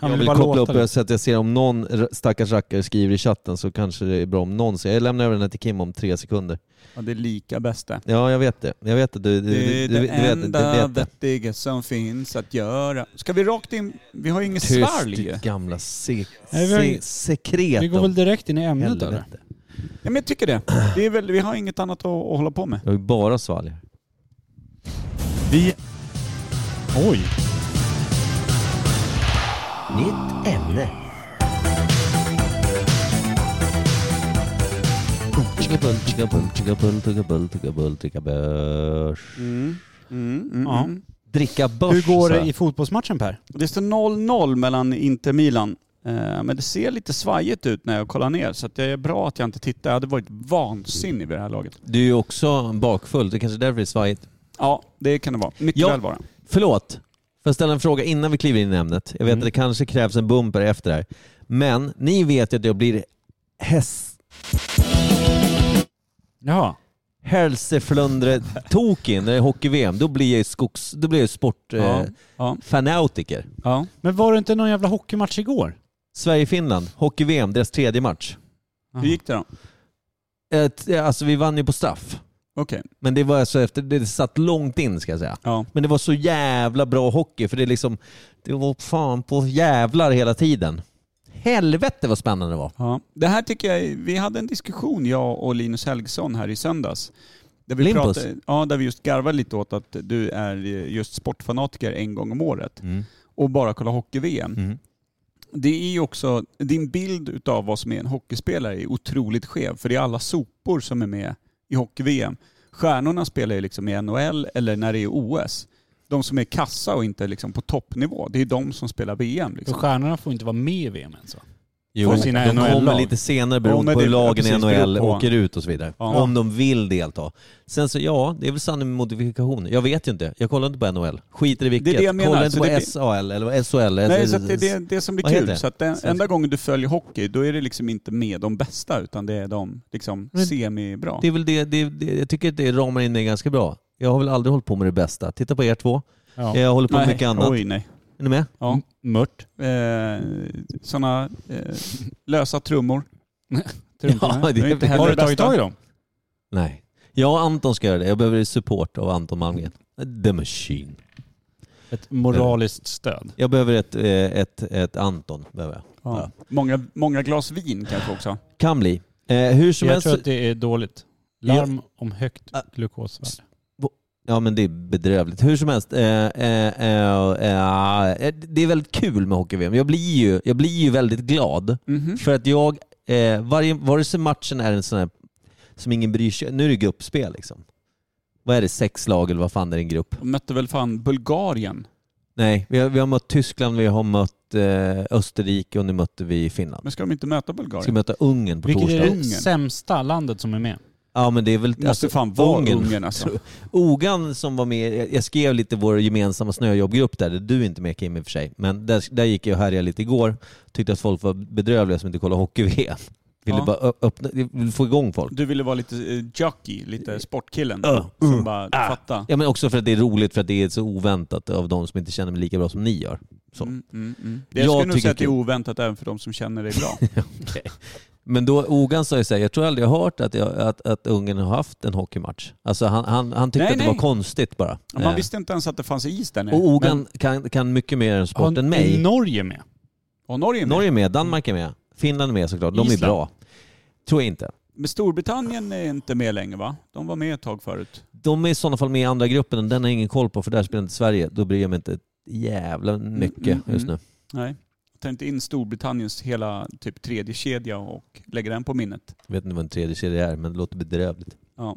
Speaker 1: Jag
Speaker 5: vill
Speaker 1: vill
Speaker 5: bara
Speaker 1: koppla
Speaker 5: låta
Speaker 1: upp
Speaker 5: det.
Speaker 1: det så att jag ser om någon r- stackars rackare skriver i chatten så kanske det är bra om någon ser. Jag lämnar över den här till Kim om tre sekunder.
Speaker 2: Ja, det är lika bäst det.
Speaker 1: Ja, jag vet det. Jag vet det. Du, du,
Speaker 2: Det
Speaker 1: du, du,
Speaker 2: är
Speaker 1: du
Speaker 2: det
Speaker 1: vet, du
Speaker 2: enda
Speaker 1: vet det.
Speaker 2: vettiga som finns att göra. Ska vi rakt in? Vi har ju inget
Speaker 1: Tyst
Speaker 2: svalg.
Speaker 1: ditt gamla se,
Speaker 5: Nej, vi har
Speaker 1: se,
Speaker 5: ing-
Speaker 1: sekret.
Speaker 5: Vi går
Speaker 1: om
Speaker 5: väl direkt in i ämnet eller?
Speaker 1: helvete.
Speaker 2: Ja, men jag tycker det. det är väl, vi har inget annat att, att hålla på med.
Speaker 1: Jag har ju bara svalg här.
Speaker 5: Vi... Oj!
Speaker 6: Nytt ämne.
Speaker 1: Tuggabull, tuggabull, tuggabull, tuggabull, tuggabull, tuggabörs. Mm,
Speaker 5: Ja.
Speaker 1: Dricka börs,
Speaker 5: Hur går
Speaker 1: sa
Speaker 5: det
Speaker 1: jag.
Speaker 5: i fotbollsmatchen Per?
Speaker 2: Det står 0-0 mellan Inter Milan. Eh, Men det ser lite svajigt ut när jag kollar ner, så att det är bra att jag inte tittar. Jag hade varit vansinnig vid det här laget.
Speaker 1: Du är ju också bakfull. Det är kanske är därför det är svajigt.
Speaker 2: Ja, det kan det vara. Mycket
Speaker 1: Ja.
Speaker 2: väl vara.
Speaker 1: Förlåt, får jag ställa en fråga innan vi kliver in i ämnet? Jag vet
Speaker 5: Mm.
Speaker 1: att det kanske krävs en bumper efter det här. Men ni vet ju att jag blir häst...
Speaker 5: Jaha.
Speaker 1: Hälseflundre-tokig när det är hockey-VM. Då blir jag ju skogs... Då blir jag ju eh,
Speaker 2: Ja.
Speaker 1: sportfanautiker.
Speaker 2: Ja.
Speaker 1: Eh,
Speaker 2: Ja.
Speaker 5: Men var det inte någon jävla hockeymatch igår?
Speaker 1: Sverige-Finland, hockey-VM, deras tredje match.
Speaker 2: Hur gick det då?
Speaker 1: Ett, eh, alltså vi vann ju på straff.
Speaker 2: Okej.
Speaker 1: Men det var alltså efter... Det satt långt in ska jag säga.
Speaker 2: Ja.
Speaker 1: Men det var så jävla bra hockey för det är liksom... Det var fan på jävlar hela tiden. Helvete vad spännande det var.
Speaker 2: Ja. Det här tycker jag, är- vi hade en diskussion jag och Linus Helgesson här i söndags. Där vi,
Speaker 1: Limpus?
Speaker 2: pratade, ja, där vi just garvade lite åt att du är eh, just sportfanatiker en gång om året och bara kollar hockey-VM.
Speaker 1: Mm.
Speaker 2: Det är ju också, din bild utav vad som är en hockeyspelare är otroligt skev, för det är alla sopor som är med i hockey-VM. Stjärnorna spelar ju liksom i NHL eller när det är OS. De som är kassa och inte liksom på toppnivå, det är de som spelar VM.
Speaker 5: För
Speaker 2: Liksom.
Speaker 5: stjärnorna får inte vara med i VM ens va?
Speaker 1: Jo,
Speaker 5: Får sina
Speaker 1: de
Speaker 5: NHL -lag.
Speaker 1: kommer lite senare
Speaker 2: Ja,
Speaker 1: beroende
Speaker 2: men
Speaker 1: på hur
Speaker 2: det-
Speaker 1: lagen i
Speaker 2: precis,
Speaker 1: NHL
Speaker 2: beror på.
Speaker 1: åker ut och så vidare.
Speaker 2: Ja.
Speaker 1: Om de vill delta. Sen så, ja, det är väl sanning med modifikation. Jag vet ju inte. Jag kollar inte på NHL. Skiter i vilket.
Speaker 2: Det är det jag menar.
Speaker 1: Kollar inte
Speaker 2: Så
Speaker 1: på
Speaker 2: det blir-
Speaker 1: SAL eller vad SHL.
Speaker 2: Nej, så att det är det, det som blir
Speaker 1: Vad heter
Speaker 2: kul.
Speaker 1: det?
Speaker 2: Så att den, enda gången du följer hockey, då är det liksom inte med de bästa, utan det är de liksom
Speaker 1: Men-
Speaker 2: semi-bra.
Speaker 1: Det är väl det, det, det, jag tycker att det ramar in mig ganska bra. Jag har väl aldrig hållit på med det bästa. Titta på er två.
Speaker 5: Ja.
Speaker 1: Jag håller på med mycket annat.
Speaker 2: Oj, nej.
Speaker 1: Är ni med?
Speaker 2: Ja.
Speaker 5: Mört.
Speaker 2: Eh, Sådana eh, lösa trummor.
Speaker 5: Trumporna.
Speaker 2: det är inte
Speaker 5: Har du
Speaker 2: heller
Speaker 5: tagit
Speaker 2: bästa.
Speaker 5: tag i dem?
Speaker 1: Nej. Jag och Anton ska göra det. Jag behöver support av Anton Malmgren. The Machine.
Speaker 5: Ett moraliskt stöd.
Speaker 1: Jag behöver ett, eh, ett, ett Anton. Behöver jag.
Speaker 2: Ja. Många, många glas vin kanske också.
Speaker 1: Kan bli. Eh, hur som
Speaker 5: Jag
Speaker 1: helst.
Speaker 5: tror att det är dåligt. Larm om högt glukosvärde.
Speaker 1: Ja men det är bedrövligt. Hur som helst, eh, eh, eh, eh, det är väldigt kul med hockey-VM. Jag blir ju, jag blir ju väldigt glad
Speaker 2: Mhm.
Speaker 1: för att jag, eh, varje, vare sig matchen är en sån här som ingen bryr sig Nu är det gruppspel liksom. Vad är det, sex lag eller vad fan är det i en grupp?
Speaker 2: De mötte väl fan Bulgarien.
Speaker 1: Nej, vi har, vi har mött Tyskland, vi har mött eh, Österrike och nu mötte vi Finland.
Speaker 2: Men ska de inte möta
Speaker 1: Vi ska
Speaker 2: Bulgarien?
Speaker 1: möta Ungern på
Speaker 5: Vilket är
Speaker 1: torsdag.
Speaker 5: det
Speaker 2: Ungern.
Speaker 5: sämsta landet som är med?
Speaker 1: Ja men det är väl...
Speaker 2: Måste fan vara
Speaker 1: Ungern.
Speaker 2: Ungern alltså.
Speaker 1: Ogan som var med, jag- jag skrev lite vår gemensamma snöjobbgrupp där, där du är inte med Kim i och för sig, men där, där gick jag och härjade lite igår. Tyckte att folk var bedrövliga som inte kollade hockey-VM. Ville
Speaker 2: Ja.
Speaker 1: bara ö- öppna, vill få igång folk.
Speaker 2: Du ville vara lite eh, jockey, lite sportkillen.
Speaker 1: Uh,
Speaker 2: Som bara fatta.
Speaker 1: Ja men också för att det är roligt för att det är så oväntat av de som inte känner mig lika bra som ni gör. Så.
Speaker 2: Mm, mm, mm. Det
Speaker 1: Jag
Speaker 2: jag skulle nog
Speaker 1: tycker
Speaker 2: säga att det är
Speaker 1: kul.
Speaker 2: oväntat även för de som känner dig bra.
Speaker 1: Men då, Ogan sa ju såhär, jag tror aldrig jag hört att, jag, att, att Ungern har haft en hockeymatch. Alltså han, han, han tyckte
Speaker 2: Nej,
Speaker 1: att det
Speaker 2: nej.
Speaker 1: var konstigt bara.
Speaker 2: Ja, Man
Speaker 1: Eh,
Speaker 2: visste inte ens att det fanns is där nere.
Speaker 1: och Ogan
Speaker 2: Men-
Speaker 1: kan, kan mycket mer om sport
Speaker 5: Har
Speaker 1: än mig.
Speaker 5: Norge med?
Speaker 2: Och Norge är med.
Speaker 1: Norge är med, Danmark är med, Finland är med såklart. De är
Speaker 5: Island.
Speaker 1: bra. Tror jag inte.
Speaker 2: Men Storbritannien är inte med längre va? De var med ett tag förut.
Speaker 1: De är i sådana fall med i andra gruppen, och den har jag ingen koll på för där spelar inte Sverige. Då bryr jag mig inte ett jävla mycket
Speaker 2: mm,
Speaker 1: just nu.
Speaker 2: Nej. Ta inte in Storbritanniens hela typ tredje kedja och lägga den på minnet.
Speaker 1: Jag vet inte vad en tredje kedja är, men det låter bedrövligt.
Speaker 2: Ja,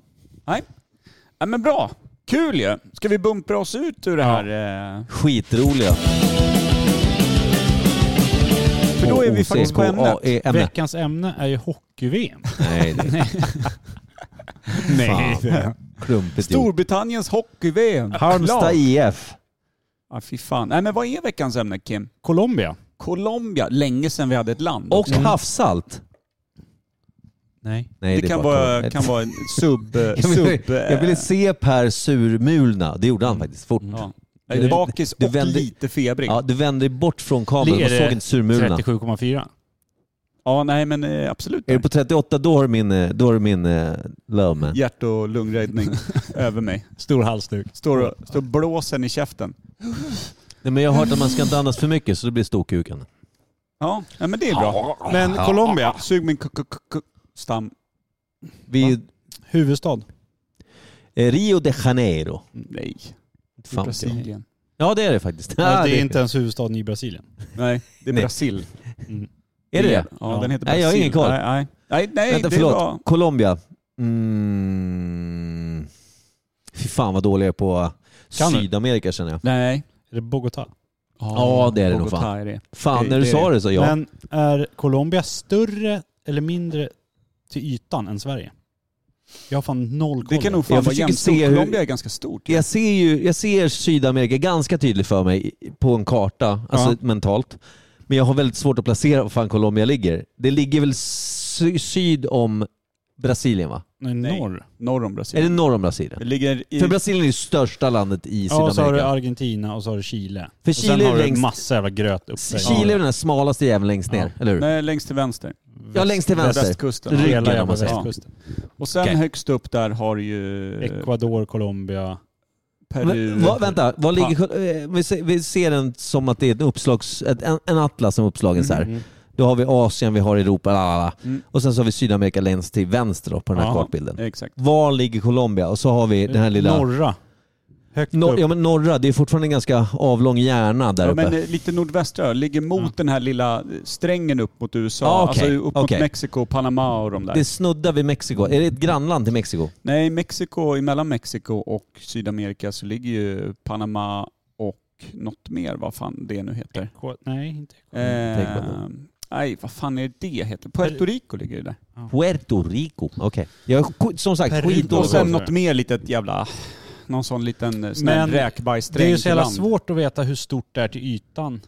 Speaker 2: men bra! Kul ju! Ska vi bumpra oss ut ur det här? eh?
Speaker 1: Skitroliga.
Speaker 2: För då är vi faktiskt på ämnet.
Speaker 1: ämnet.
Speaker 5: Veckans ämne är ju hockey-VM.
Speaker 1: E Nej, det är
Speaker 5: Nej.
Speaker 1: klumpigt gjort.
Speaker 2: Storbritanniens hockey-VM.
Speaker 1: Halmstad
Speaker 2: Klart.
Speaker 1: IF.
Speaker 2: Ja, fy fan. Nej, men vad är veckans ämne Kim?
Speaker 5: Colombia?
Speaker 2: Colombia. Länge sedan vi hade ett land.
Speaker 1: Och
Speaker 2: också.
Speaker 1: havssalt.
Speaker 5: Nej.
Speaker 1: Mm. Nej, är
Speaker 2: det, kan,
Speaker 1: bara
Speaker 2: vara,
Speaker 1: klumpigt.
Speaker 2: kan vara en sub... eh,
Speaker 1: Jag ville,
Speaker 2: sub
Speaker 1: jag ville se Per surmulna. Det gjorde han faktiskt fort.
Speaker 2: Ja.
Speaker 1: Du-
Speaker 2: Bakis
Speaker 1: du
Speaker 2: och
Speaker 1: vänder-
Speaker 2: lite febrig.
Speaker 1: Ja,
Speaker 2: Ja.
Speaker 1: du vände dig bort från kameran och
Speaker 5: Är det
Speaker 1: såg inte surmulna.
Speaker 5: 37,4.
Speaker 2: nej men eh, absolut.
Speaker 1: Är du på 38 då har du min, eh, då har du min uh, love man.
Speaker 2: Hjärt och lungräddning över mig.
Speaker 5: Stor halsduk.
Speaker 2: Står och står och blåsen i käften.
Speaker 1: Nej, men jag har hört att man ska inte andas för mycket så det blir storkuken.
Speaker 2: Ja, nej, men det är bra.
Speaker 5: Men Colombia,
Speaker 2: Sug min k- k- k- k- stam.
Speaker 1: Vi,
Speaker 5: huvudstad.
Speaker 1: eh, Rio de Janeiro.
Speaker 2: Nej,
Speaker 1: Fan,
Speaker 2: Brasilien.
Speaker 1: Ja det är det faktiskt.
Speaker 5: Ja,
Speaker 1: Ja,
Speaker 5: det är inte ens huvudstaden i Brasilien.
Speaker 2: Nej, det är
Speaker 1: Nej.
Speaker 2: Brasil.
Speaker 1: Är det det?
Speaker 2: Ja,
Speaker 5: Ja.
Speaker 2: den heter Brasil.
Speaker 1: Nej, jag har ingen koll.
Speaker 2: Nej, nej. nej, nej
Speaker 1: Vänta
Speaker 2: det
Speaker 1: förlåt.
Speaker 2: var...
Speaker 1: Colombia. Mm. Fy fan vad dålig jag är på
Speaker 5: Kan du?
Speaker 1: Sydamerika känner jag.
Speaker 2: Nej.
Speaker 5: Är det Bogotá?
Speaker 1: Ja, det är det nog
Speaker 2: Bogotá
Speaker 1: fan.
Speaker 2: är det.
Speaker 1: Fan
Speaker 2: Det-
Speaker 1: när du
Speaker 2: det är
Speaker 1: sa det så ja.
Speaker 5: Men är Colombia större eller mindre till ytan än Sverige? Jag har fan noll
Speaker 2: Det
Speaker 5: koll.
Speaker 2: kan nog
Speaker 1: Jag
Speaker 2: fan vara
Speaker 1: försöker
Speaker 2: jämnt
Speaker 1: se
Speaker 2: stort.
Speaker 1: hur-
Speaker 2: Colombia är ganska stort.
Speaker 1: Jag ser ju jag ser Sydamerika ganska tydligt för mig på en karta, alltså
Speaker 2: Ja.
Speaker 1: mentalt. Men jag har väldigt svårt att placera var fan Colombia ligger. Det ligger väl sy- syd om Brasilien va?
Speaker 5: Nej,
Speaker 2: Nej.
Speaker 5: norr.
Speaker 2: Norr om
Speaker 1: Är
Speaker 2: Brasilien.
Speaker 1: det norr om Brasilien?
Speaker 2: Det ligger i...
Speaker 1: För Brasilien är ju största landet i
Speaker 5: Ja, och så har du
Speaker 1: Sydamerika.
Speaker 5: Argentina och så har du Chile.
Speaker 1: För
Speaker 5: och
Speaker 1: Chile
Speaker 5: sen
Speaker 1: är
Speaker 5: har du
Speaker 1: längst-
Speaker 5: massa jävla gröt uppe.
Speaker 1: Chile är den här smalaste jäveln längst ner, eller hur?
Speaker 2: Nej, längst till vänster.
Speaker 1: Ja, längst till vänster.
Speaker 2: Västkusten.
Speaker 1: Ryggen,
Speaker 5: Hela
Speaker 1: om
Speaker 5: jävla
Speaker 1: man säger.
Speaker 5: västkusten.
Speaker 2: Och sen
Speaker 1: Okej.
Speaker 2: högst upp där har du ju
Speaker 5: Ecuador, Colombia.
Speaker 2: Peru.
Speaker 1: Men, vad- vänta, vad ligger, eh, vi, ser, vi ser den som att det är ett uppslags, ett, en, en atlas som är uppslagen så här. Då har vi Asien, vi har Europa, la, la, la.
Speaker 2: Mm.
Speaker 1: och sen så har vi Sydamerika längst till vänster då, på den här
Speaker 5: Ja.
Speaker 1: kartbilden.
Speaker 2: Exakt.
Speaker 1: Var ligger Colombia? Och så har vi den här lilla...
Speaker 5: Norra. Högt
Speaker 1: Nor-
Speaker 5: upp.
Speaker 1: ja, men norra, det är fortfarande en ganska avlång hjärna där
Speaker 2: Ja,
Speaker 1: uppe.
Speaker 2: men eh, lite nordvästra, ligger mot den här lilla strängen upp mot USA.
Speaker 1: Ah, okej.
Speaker 2: Alltså upp mot
Speaker 1: Okej.
Speaker 2: Mexiko, Panama och de där.
Speaker 1: det snuddar vid Mexiko. Är det ett grannland till Mexiko?
Speaker 2: Nej, Mexiko, emellan Mexiko och Sydamerika så ligger ju Panama och något mer, vad fan det nu heter.
Speaker 5: Ecuador- Nej, inte Ecuador.
Speaker 2: Eh,
Speaker 1: Ecuador.
Speaker 2: nej, vad fan är det det heter? Puerto Rico ligger ju där.
Speaker 1: Puerto Rico. Okej. Jag är sk- som sagt
Speaker 5: Peru.
Speaker 1: skitdålig
Speaker 2: Och
Speaker 1: koll.
Speaker 2: sen något mer litet jävla... Någon sån liten eh, sån här
Speaker 5: Men
Speaker 2: räkbajssträng
Speaker 5: Det är ju så
Speaker 2: till
Speaker 5: jävla
Speaker 2: land.
Speaker 5: svårt att veta hur stort det är till ytan.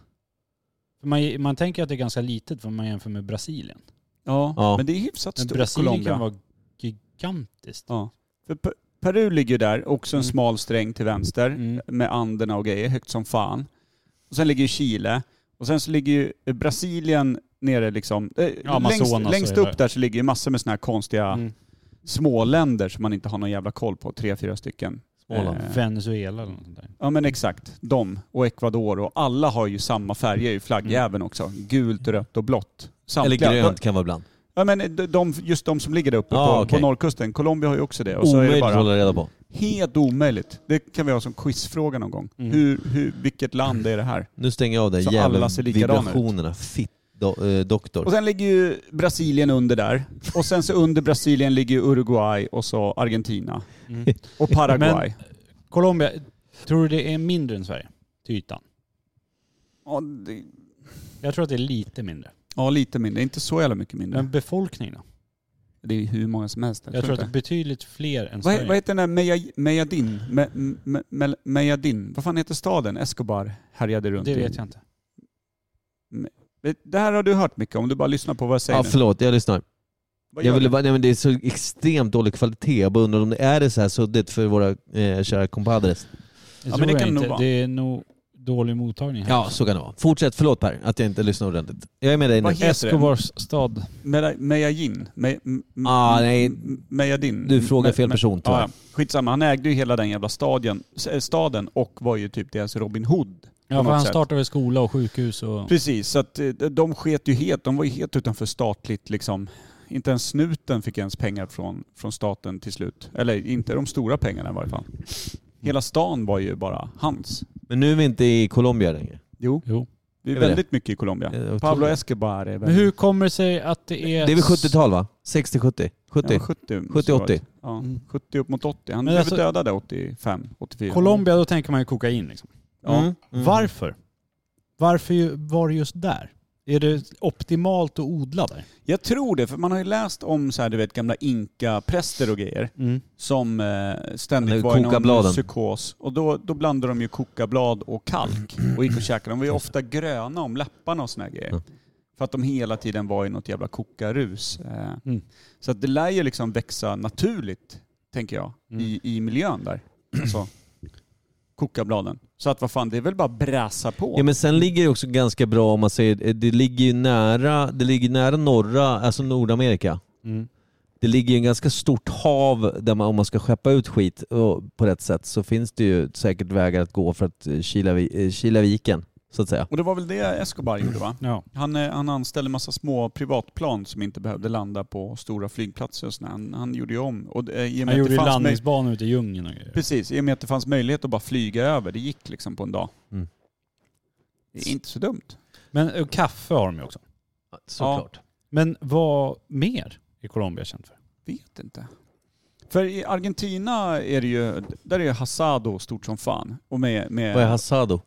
Speaker 5: För Man, man tänker att det är ganska litet om man jämför med Brasilien.
Speaker 2: Ja,
Speaker 1: Ja.
Speaker 2: men det är hyfsat
Speaker 5: Men
Speaker 2: stort.
Speaker 5: Brasilien
Speaker 2: Colombia.
Speaker 5: kan vara gigantiskt.
Speaker 2: Ja. För Pe- Peru ligger där, också en
Speaker 5: Mm.
Speaker 2: smal sträng till vänster
Speaker 5: Mm.
Speaker 2: med Anderna och grejer, högt som fan. Och sen ligger ju Chile. Och sen så ligger ju eh, Brasilien nere liksom. eh,
Speaker 5: Amazonas
Speaker 2: längst
Speaker 5: och
Speaker 2: längst
Speaker 5: hela-
Speaker 2: upp där så ligger ju massor med sådana här konstiga
Speaker 5: Mm.
Speaker 2: småländer som man inte har någon jävla koll på. Tre, fyra stycken.
Speaker 1: Småland.
Speaker 2: Eh,
Speaker 5: Venezuela eller något sånt där.
Speaker 2: Ja men exakt. De och Ecuador och alla har ju samma färger i flaggjäveln också. Gult, rött och blått.
Speaker 1: Mm. Eller
Speaker 2: Samtliga.
Speaker 1: grönt kan vara ibland.
Speaker 2: Ja men de- de, just de som ligger där uppe
Speaker 1: Ah,
Speaker 2: på,
Speaker 1: okej.
Speaker 2: på norrkusten. Colombia har ju också det. Och så är det
Speaker 1: Omöjligt att
Speaker 2: bara
Speaker 1: hålla reda på.
Speaker 2: Helt omöjligt. Det kan vi ha som quizfråga någon gång.
Speaker 5: Mm.
Speaker 2: Hur, hur, vilket land är det här?
Speaker 1: Nu stänger jag av den
Speaker 2: Så
Speaker 1: jävla
Speaker 2: alla ser likadana ut.
Speaker 1: vibrationerna. Fitt do, eh, doktor.
Speaker 2: Och sen ligger ju Brasilien under där. Och sen så under Brasilien ligger ju Uruguay och så Argentina.
Speaker 5: Mm.
Speaker 2: Och Paraguay.
Speaker 5: Colombia, tror du det är mindre än Sverige? Till ytan?
Speaker 2: Ja, det,
Speaker 5: Jag tror att det är lite mindre.
Speaker 2: ja, lite mindre. Inte så jävla mycket mindre.
Speaker 5: Men befolkningen då?
Speaker 2: Det är hur många som helst.
Speaker 5: Jag, tror att det är betydligt fler än
Speaker 2: Vad,
Speaker 5: Sverige.
Speaker 2: vad heter den där Meja- Mejadin? Me, me, me, Mejadin? Vad fan heter staden Escobar härjade runt
Speaker 5: det
Speaker 2: i?
Speaker 5: vet jag inte.
Speaker 2: Det, det här har du hört mycket om, du bara lyssnar på vad jag säger
Speaker 1: Ja,
Speaker 2: nu.
Speaker 1: förlåt, jag lyssnar.
Speaker 2: Vad
Speaker 1: Jag
Speaker 2: gör
Speaker 1: ville
Speaker 2: du?
Speaker 1: bara, nej, men det är så extremt dålig kvalitet. Jag bara undrar om det är det så här suddigt för våra eh, kära compadres.
Speaker 5: Det
Speaker 2: men
Speaker 5: tror
Speaker 2: det
Speaker 5: jag
Speaker 2: kan det nog
Speaker 5: inte.
Speaker 2: vara.
Speaker 5: Det är nog dålig mottagning här.
Speaker 1: Ja, så kan det vara. Fortsätt, förlåt Per, att jag inte lyssnar ordentligt. Jag är med dig nu.
Speaker 2: Vad heter det?
Speaker 5: Escobars stad.
Speaker 2: Meja- Mejajin? Me, m- m-
Speaker 1: Ah, nej.
Speaker 2: m- Mejadin?
Speaker 1: Du frågar fel
Speaker 2: Me- me-
Speaker 1: person tror
Speaker 2: Ja,
Speaker 1: jag.
Speaker 2: ja. Skitsamma, han ägde ju hela den jävla stadien, s- eh, staden och var ju typ deras Robin Hood.
Speaker 5: Ja,
Speaker 2: något
Speaker 5: för han
Speaker 2: sätt.
Speaker 5: startade skola och sjukhus och...
Speaker 2: Precis, så att eh, de sket ju helt, de var ju helt utanför statligt liksom. Inte ens snuten fick ens pengar från, från staten till slut. Eller inte de stora pengarna i varje fall. Hela stan var ju bara hans.
Speaker 1: Men nu är vi inte i Colombia längre.
Speaker 2: Jo,
Speaker 5: Jo.
Speaker 2: vi är
Speaker 1: Är vi det?
Speaker 2: väldigt mycket i Colombia.
Speaker 1: Det är otroligt.
Speaker 2: Pablo Escobar är
Speaker 5: Men
Speaker 2: väldigt...
Speaker 5: hur kommer det sig att det är...
Speaker 1: Det är väl 70-tal va? 60-70? 70?
Speaker 2: Ja, 70. måste
Speaker 1: 70,
Speaker 2: det ha varit.
Speaker 1: 80.
Speaker 2: Ja,
Speaker 5: Mm.
Speaker 2: 70 upp mot 80. Han
Speaker 5: Men
Speaker 2: blev
Speaker 5: alltså-
Speaker 2: dödad där 85, 84.
Speaker 5: Colombia, då tänker man ju kokain liksom.
Speaker 2: Ja.
Speaker 1: Mm, mm.
Speaker 5: Varför? Varför ju- var det just där? Är det optimalt att odla där?
Speaker 2: Jag tror det, för man har ju läst om så här, du vet, gamla inka-präster och grejer. som eh,
Speaker 1: Eller
Speaker 2: ständigt var i någon
Speaker 1: kokabladen.
Speaker 2: psykos. Och då, då blandade de ju kokablad och kalk och gick och käkade. De var ju ofta gröna om läpparna och såna här grejer.
Speaker 1: Ja.
Speaker 2: För att de hela tiden var i något jävla kokarus. Eh,
Speaker 5: Mm.
Speaker 2: Så att det lär ju liksom växa naturligt, tänker jag, i, i miljön där. Alltså, kokabladen. Så att vad fan, det är väl bara att bräsa på.
Speaker 1: Ja men sen ligger det också ganska bra om man säger, eh, det ligger ju nära, det ligger nära norra, alltså Nordamerika.
Speaker 5: Mm.
Speaker 1: Det ligger ju en ganska stort hav där man, om man ska skeppa ut skit och, på rätt sätt så finns det ju säkert vägar att gå för att eh, kila, vi- eh, kila viken, så att säga.
Speaker 2: Och det var väl det Escobar gjorde va?
Speaker 5: Ja.
Speaker 2: Han, eh, han anställde en massa små privatplan som inte behövde landa på stora flygplatser och sådär. Han, han gjorde ju om. Och, eh, i och med
Speaker 5: Han
Speaker 2: att
Speaker 5: gjorde
Speaker 2: det
Speaker 5: ju
Speaker 2: fanns möj-
Speaker 5: landningsbanor ute i djungeln och grejer.
Speaker 2: Precis, i och med att det fanns möjlighet att bara flyga över. Det gick liksom på en dag.
Speaker 1: Mm.
Speaker 2: Det är inte så dumt.
Speaker 5: Men eh, kaffe har de ju också.
Speaker 1: Såklart.
Speaker 5: Men vad mer är Colombia känt för?
Speaker 2: Vet inte. För i Argentina är det ju, där är ju hasado stort som fan. Och med, med
Speaker 1: Vad är hasado?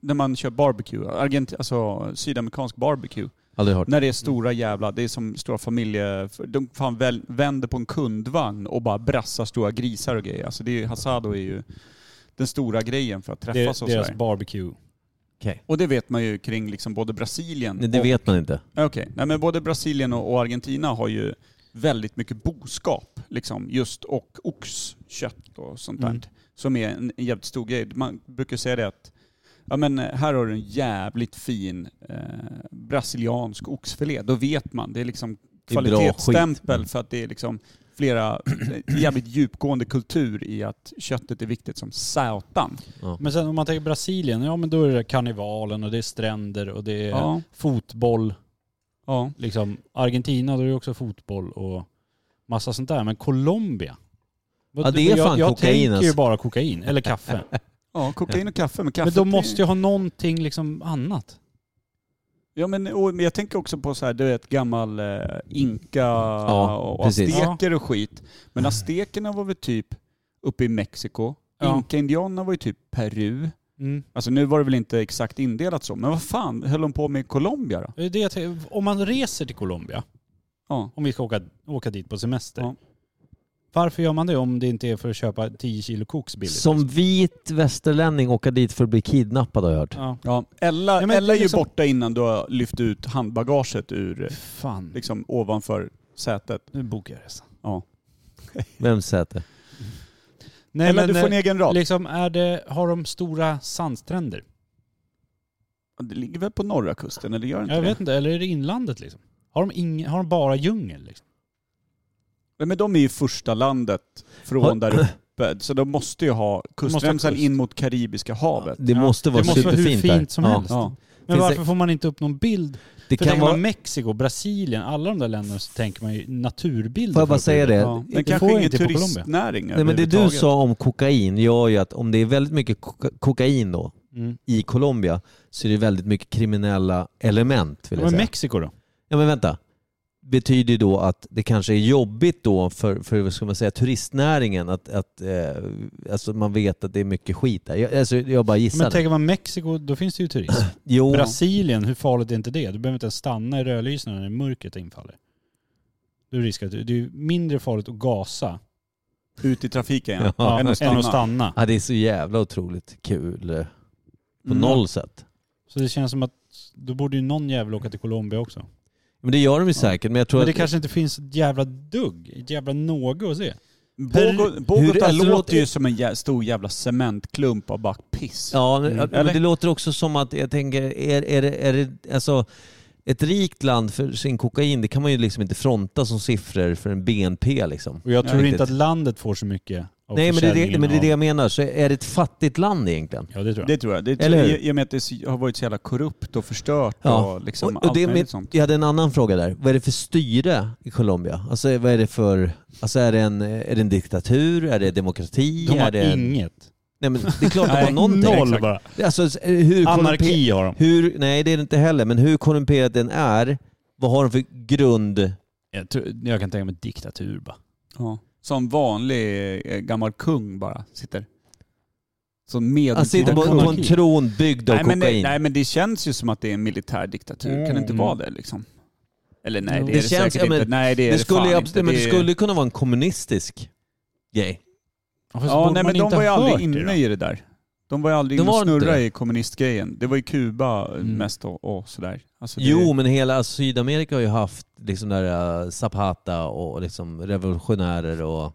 Speaker 2: när man kör barbecue, Argent, alltså sydamerikansk barbecue.
Speaker 1: Aldrig hört.
Speaker 5: Mm.
Speaker 2: När det är stora jävla, det är som stora familje... De fan väl, vänder på en kundvagn och bara brassar stora grisar och grejer. Alltså det är ju, hasado är ju den stora grejen för att
Speaker 5: Det
Speaker 2: träffas
Speaker 5: är
Speaker 2: och
Speaker 5: deras
Speaker 2: sådär.
Speaker 5: barbecue.
Speaker 2: Och det vet man ju kring liksom både Brasilien
Speaker 1: Nej, det
Speaker 2: och
Speaker 1: vet man inte.
Speaker 2: Okej, Nej, men både Brasilien och och Argentina har ju väldigt mycket boskap liksom, just och oxkött och sånt där.
Speaker 5: Mm.
Speaker 2: Som är en en jävligt stor grej. Man brukar säga det att ja, men, eh, här har du en jävligt fin eh, brasiliansk oxfilé. Då vet man. Det är liksom
Speaker 1: Det är bra
Speaker 2: kvalitetsstämpel för att det är liksom flera eh, jävligt djupgående kultur i att köttet är viktigt som satan.
Speaker 5: Men sen om man tänker Brasilien, ja men då är det karnevalen och det är stränder och det är
Speaker 2: Ja.
Speaker 5: fotboll.
Speaker 2: Ja.
Speaker 5: Liksom Argentina, då är det också fotboll och massa sånt där. Men Colombia?
Speaker 1: Ja, det är
Speaker 5: jag,
Speaker 1: fan
Speaker 5: jag
Speaker 1: kokain,
Speaker 5: tänker ju
Speaker 1: alltså.
Speaker 5: bara kokain, eller kaffe.
Speaker 2: ja, kokain och kaffe. Men, kaffe
Speaker 5: men de måste ju ha någonting liksom annat.
Speaker 2: Ja men och, men jag tänker också på så här, du vet gammal eh, inka och
Speaker 1: precis. Mm.
Speaker 2: azteker och skit. Men aztekerna var väl typ uppe i Mexiko.
Speaker 5: Ja.
Speaker 2: Inka-indianerna var ju typ Peru.
Speaker 5: Mm.
Speaker 2: Alltså nu var det väl inte exakt indelat så, men vad fan höll de på med i Colombia då?
Speaker 5: Det är det jag tänker. om man reser till Colombia,
Speaker 2: Ja.
Speaker 5: om vi ska åka, åka dit på semester.
Speaker 2: Ja.
Speaker 5: Varför gör man det om det inte är för att köpa 10 kilo koks billigt?
Speaker 1: Som vit västerlänning åka dit för att bli kidnappad har jag hört.
Speaker 5: Ja.
Speaker 2: ja. Ella,
Speaker 5: Ja, men
Speaker 2: Ella är ju
Speaker 5: liksom-
Speaker 2: borta innan du har lyft ut handbagaget ur, eh,
Speaker 5: Fan,
Speaker 2: liksom ovanför sätet.
Speaker 5: nu bokar jag resan.
Speaker 1: Vem säger
Speaker 5: Nej,
Speaker 2: Ella du får en
Speaker 5: eh,
Speaker 2: egen rad.
Speaker 5: liksom är det, har de stora sandstränder?
Speaker 2: Ja, Det ligger väl på norra kusten, eller gör det inte
Speaker 5: Jag
Speaker 2: det?
Speaker 5: vet inte, eller är det inlandet liksom? Har de, ing, har de bara djungel liksom?
Speaker 2: Nej, Men de är ju första landet
Speaker 1: Har-
Speaker 2: från där uppe, så de måste ju ha kustremsan
Speaker 5: kust.
Speaker 2: in mot Karibiska havet.
Speaker 1: Det måste vara
Speaker 5: det måste vara hur
Speaker 1: superfint där.
Speaker 5: fint som
Speaker 1: Ja.
Speaker 5: helst.
Speaker 2: Ja.
Speaker 5: Men
Speaker 1: Finns det-
Speaker 5: varför får man inte upp någon bild?
Speaker 1: Det
Speaker 5: För kan
Speaker 1: kan vara...
Speaker 5: Mexiko, Brasilien, alla de där länderna så tänker man ju naturbilder.
Speaker 1: Får jag bara
Speaker 5: för att
Speaker 1: säga
Speaker 5: bli-
Speaker 1: det?
Speaker 2: Ja, men
Speaker 5: Det får
Speaker 2: kanske ingen
Speaker 5: inte på Colombia.
Speaker 2: turistnäring
Speaker 1: Nej, men det du
Speaker 2: överhuvudtaget.
Speaker 1: sa om kokain gör ju att om det är väldigt mycket koka- kokain då
Speaker 5: Mm.
Speaker 1: i Colombia så är det väldigt mycket kriminella element vill
Speaker 5: Ja,
Speaker 1: jag
Speaker 5: Men
Speaker 1: säga.
Speaker 5: Mexiko då?
Speaker 1: Ja men vänta. betyder ju då att det kanske är jobbigt då för, för vad ska man säga, turistnäringen att, att eh, alltså man vet att det är mycket skit där. Jag, alltså, jag bara gissar.
Speaker 5: Men tänker man Mexiko, då finns det ju turism.
Speaker 1: jo,
Speaker 5: Brasilien, hur farligt är inte det? Du behöver inte ens stanna i rödlysena när mörkret infaller. Du riskar att det är ju mindre farligt att gasa
Speaker 2: Ut i trafiken ja.
Speaker 1: Ja,
Speaker 5: än att stanna.
Speaker 1: ja, det är så jävla otroligt kul eh, på
Speaker 2: Mm.
Speaker 1: noll sätt.
Speaker 5: Så det känns som att då borde ju någon jävel åka till Colombia också.
Speaker 1: Men det gör de ju säkert. Men jag tror
Speaker 5: Men det
Speaker 1: att,
Speaker 5: kanske inte finns ett jävla dugg, ett jävla något att se.
Speaker 2: Bogo-
Speaker 1: Hur-
Speaker 2: Bogota
Speaker 1: alltså,
Speaker 2: Mm. låter
Speaker 1: låter-
Speaker 2: ju som en jä- stor jävla cementklump av bara piss.
Speaker 1: Ja, men-
Speaker 5: Mm.
Speaker 1: men det
Speaker 2: Eller?
Speaker 1: låter också som att jag tänker, är, är, det, är det alltså ett rikt land för sin kokain, det kan man ju liksom inte fronta som siffror för en BNP liksom.
Speaker 5: Och jag
Speaker 2: Ja,
Speaker 5: tror
Speaker 1: riktigt.
Speaker 5: inte att landet får så mycket av
Speaker 1: Nej men det, är det,
Speaker 5: försäljningen
Speaker 1: men det är det
Speaker 5: av-
Speaker 1: jag menar, så är det ett fattigt land egentligen?
Speaker 5: Ja det tror jag.
Speaker 2: Det tror jag. Det tror
Speaker 1: Eller
Speaker 2: jag,
Speaker 1: hur?
Speaker 2: i och med att det är så- har varit så jävla korrupt och förstört
Speaker 1: Ja.
Speaker 2: och liksom
Speaker 1: Och- och
Speaker 2: allt
Speaker 1: det
Speaker 2: möjligt
Speaker 1: med-
Speaker 2: sånt.
Speaker 1: Jag hade en annan fråga där. Vad är det för styre i Colombia? Alltså vad är det för, alltså är det en, är det en diktatur? Är det demokrati?
Speaker 5: de
Speaker 1: är
Speaker 5: har
Speaker 1: det en...
Speaker 5: inget.
Speaker 1: Nej men det är klart de har
Speaker 5: Nej,
Speaker 1: någonting.
Speaker 5: noll bara.
Speaker 1: Alltså hur korrumper-
Speaker 5: Anarki har de.
Speaker 1: Hur, nej det är det inte heller, men hur korrumperad den är, vad har den för grund?
Speaker 5: Jag, tror, jag kan tänka mig diktatur bara.
Speaker 2: Ja. Som vanlig eh, gammal kung bara sitter. Som
Speaker 1: Han sitter
Speaker 2: medeltida
Speaker 1: på,
Speaker 5: Anarki.
Speaker 1: på
Speaker 2: kung.
Speaker 1: en tron byggd av
Speaker 2: Nej men,
Speaker 1: kokain.
Speaker 2: det, nej men det känns ju som att det är en militärdiktatur. Kan det inte
Speaker 5: Mm.
Speaker 2: vara det liksom? Eller nej, det,
Speaker 1: Mm. Det
Speaker 2: är det
Speaker 1: känns-
Speaker 2: säkert
Speaker 1: ja, men
Speaker 2: inte. Nej, det är
Speaker 1: det,
Speaker 2: det,
Speaker 1: skulle, ju
Speaker 2: fan
Speaker 1: absolut-
Speaker 2: inte.
Speaker 1: men det
Speaker 2: är-
Speaker 1: skulle kunna vara en kommunistisk grej.
Speaker 2: Ja, nej men de var ju aldrig inne i det där. De var ju aldrig
Speaker 1: De
Speaker 2: inne och
Speaker 1: var inte
Speaker 2: snurra
Speaker 1: det.
Speaker 2: i kommunistgrejen. Det var ju Kuba eh,
Speaker 1: Mm.
Speaker 2: mest och, och sådär. Alltså, det-
Speaker 1: Jo, men hela Sydamerika har ju haft liksom där eh, Zapata och liksom revolutionärer och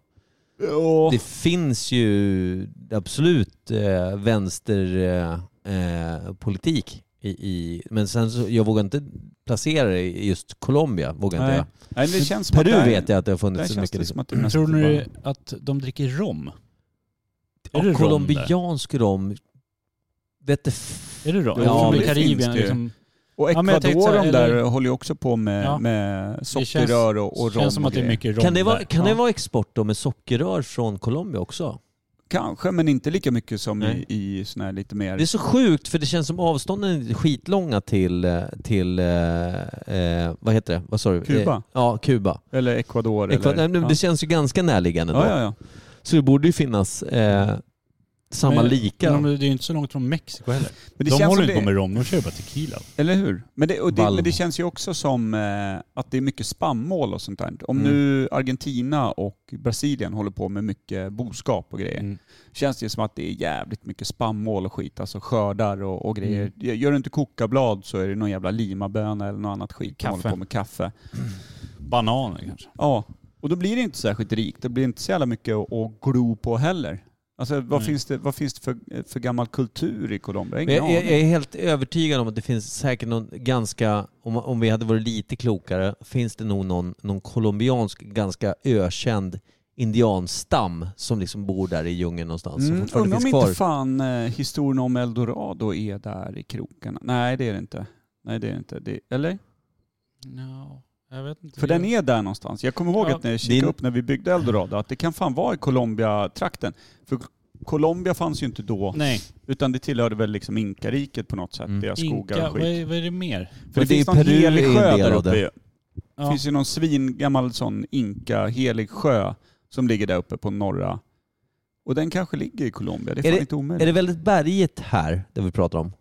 Speaker 2: Ja.
Speaker 1: det finns ju absolut eh, vänsterpolitik eh, politik i, i, men sen så, jag vågar inte placera det i just Colombia. Vågar inte
Speaker 2: Nej.
Speaker 1: jag.
Speaker 2: Nej, det känns som att
Speaker 1: Peru
Speaker 2: där-
Speaker 1: vet jag att det har
Speaker 2: Där
Speaker 1: funnits så
Speaker 2: känns
Speaker 1: mycket.
Speaker 2: det
Speaker 1: Liksom.
Speaker 2: som att det mest
Speaker 5: Tror ni
Speaker 2: bara-
Speaker 5: att de dricker rom?
Speaker 1: Ja,
Speaker 5: Är det rom där?
Speaker 1: colombiansk rom, vet du f-
Speaker 5: Är det rom?
Speaker 1: Ja,
Speaker 5: Ja,
Speaker 1: men
Speaker 5: från
Speaker 1: det
Speaker 5: Karibien
Speaker 2: finns det ju.
Speaker 5: liksom.
Speaker 2: Och
Speaker 5: Ja, men jag tänkte
Speaker 2: Ecuador
Speaker 5: så här,
Speaker 2: de där
Speaker 5: eller-
Speaker 2: håller ju också på med,
Speaker 5: Ja.
Speaker 2: med
Speaker 5: känns-
Speaker 2: sockerrör och, och rom.
Speaker 5: känns som
Speaker 2: och
Speaker 5: att det är
Speaker 2: grejer.
Speaker 5: mycket rom
Speaker 1: Kan det vara,
Speaker 5: där.
Speaker 1: kan det
Speaker 5: Ja.
Speaker 1: vara export då med sockerrör från Colombia också?
Speaker 2: Kanske, men inte lika mycket som
Speaker 1: Nej.
Speaker 2: i, i sån här lite mer...
Speaker 1: Det är så sjukt för det känns som avstånden är skitlånga till, eh, till eh, eh, vad heter det? Vad sa du?
Speaker 2: Kuba.
Speaker 1: Eh, ja, Kuba.
Speaker 2: Eller Ecuador.
Speaker 1: Ekva- Nej,
Speaker 2: eller,
Speaker 1: men Det känns ju ganska närliggande då.
Speaker 2: ja. Ja, ja,
Speaker 1: Så det borde ju finnas eh, samma
Speaker 5: Men-
Speaker 1: lika.
Speaker 5: Men de, det är ju inte så långt från Mexiko heller.
Speaker 2: Men det
Speaker 5: de
Speaker 2: känns
Speaker 5: håller
Speaker 2: som
Speaker 5: inte
Speaker 2: det,
Speaker 5: på med rom, de kör bara tequila.
Speaker 2: Eller hur? Men det, och det,
Speaker 1: Valmo.
Speaker 2: men det känns ju också som eh, att det är mycket spannmål och sånt där. Om
Speaker 1: Mm.
Speaker 2: nu Argentina och Brasilien håller på med mycket boskap och grejer,
Speaker 5: Mm.
Speaker 2: känns det ju som att det är jävligt mycket spannmål och skit, alltså skördar och, och grejer.
Speaker 5: Mm.
Speaker 2: Gör du inte kokablad så är det någon jävla limaböna eller något annat skit de
Speaker 5: Kaffe.
Speaker 2: håller på med, kaffe.
Speaker 5: Bananer kanske.
Speaker 2: Ja, och då blir det inte särskilt rikt. Det blir inte så jävla mycket att, att glo på heller. Alltså vad
Speaker 5: Nej.
Speaker 2: finns det, vad finns det för, eh, för gammal kultur i Colombia?
Speaker 1: Men
Speaker 2: Ingen
Speaker 1: jag, jag,
Speaker 2: aning.
Speaker 1: jag är helt övertygad om att det finns säkert någon ganska, om, om vi hade varit lite klokare, finns det nog någon, någon colombiansk ganska ökänd indianstam som liksom bor där i djungeln någonstans. som
Speaker 2: Mm,
Speaker 1: Alltså, fortfarande
Speaker 2: undrar om
Speaker 1: finns kvar.
Speaker 2: inte fan eh, historien om Eldorado är där i krokarna. Nej det är det inte. Nej det är det inte. Det, eller?
Speaker 5: No, jag vet inte.
Speaker 2: För den är där någonstans. Jag kommer ihåg
Speaker 5: Ja.
Speaker 2: att när jag kikade
Speaker 1: Din-
Speaker 2: upp när vi byggde Eldorado att det kan fan vara i Colombia-trakten. För Colombia fanns ju inte då
Speaker 5: Nej,
Speaker 2: utan det tillhörde väl liksom Inkariket på något sätt.
Speaker 1: Mm.
Speaker 2: Deras skogar
Speaker 5: Inka,
Speaker 2: och
Speaker 5: vad
Speaker 2: skit.
Speaker 5: är, vad är det mer?
Speaker 2: För det,
Speaker 1: Men det
Speaker 2: finns
Speaker 1: är
Speaker 2: någon
Speaker 1: Peru
Speaker 2: helig
Speaker 1: är en
Speaker 2: sjö
Speaker 1: del
Speaker 2: där
Speaker 1: av
Speaker 2: uppe
Speaker 1: det.
Speaker 2: ju. Det
Speaker 5: Ja.
Speaker 2: finns ju någon svingammal sån inka helig sjö som ligger där uppe på norra. Och den kanske ligger i Colombia. Det är,
Speaker 1: Är
Speaker 2: fan
Speaker 1: det-
Speaker 2: inte omöjligt.
Speaker 1: Är det väldigt berget här, det vi pratar om?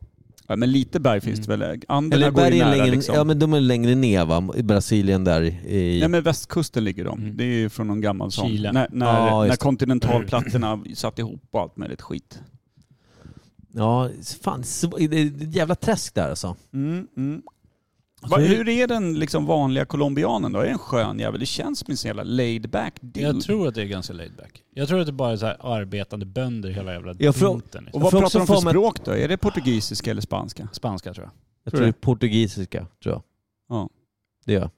Speaker 2: Ja, men lite berg finns det väl? Anderna
Speaker 1: Mm. Eller
Speaker 2: går ju
Speaker 1: bergen
Speaker 2: nära
Speaker 1: längre,
Speaker 2: liksom.
Speaker 1: ja men de är längre ner va? I Brasilien där i...
Speaker 2: Nej men västkusten ligger de.
Speaker 5: Mm.
Speaker 2: Det är ju från någon gammal sån.
Speaker 5: Chile.
Speaker 2: När, när,
Speaker 1: Ja, just
Speaker 2: när
Speaker 1: det.
Speaker 2: kontinentalplattorna satt ihop och allt möjligt skit.
Speaker 1: Ja, fan sv- det är ett jävla träsk där alltså.
Speaker 2: Mm, mm. Va,
Speaker 5: tror-
Speaker 2: hur är den liksom vanliga colombianen då? Är det en skön jävel? Det känns som en sån jävla laid back dude.
Speaker 5: Jag tror att det är ganska laid back. Jag tror att det bara är så här arbetande bönder hela jävla liksom.
Speaker 1: Jag frå-
Speaker 5: tomten.
Speaker 2: och
Speaker 1: jag
Speaker 2: vad
Speaker 1: får
Speaker 2: pratar de
Speaker 1: också
Speaker 2: för
Speaker 1: för mig-
Speaker 2: språk då? Är det portugisiska eller spanska?
Speaker 5: Spanska tror jag.
Speaker 1: Jag
Speaker 2: Tror
Speaker 1: tror,
Speaker 2: du?
Speaker 1: det är portugisiska, tror jag.
Speaker 2: Ja.
Speaker 1: Det gör jag.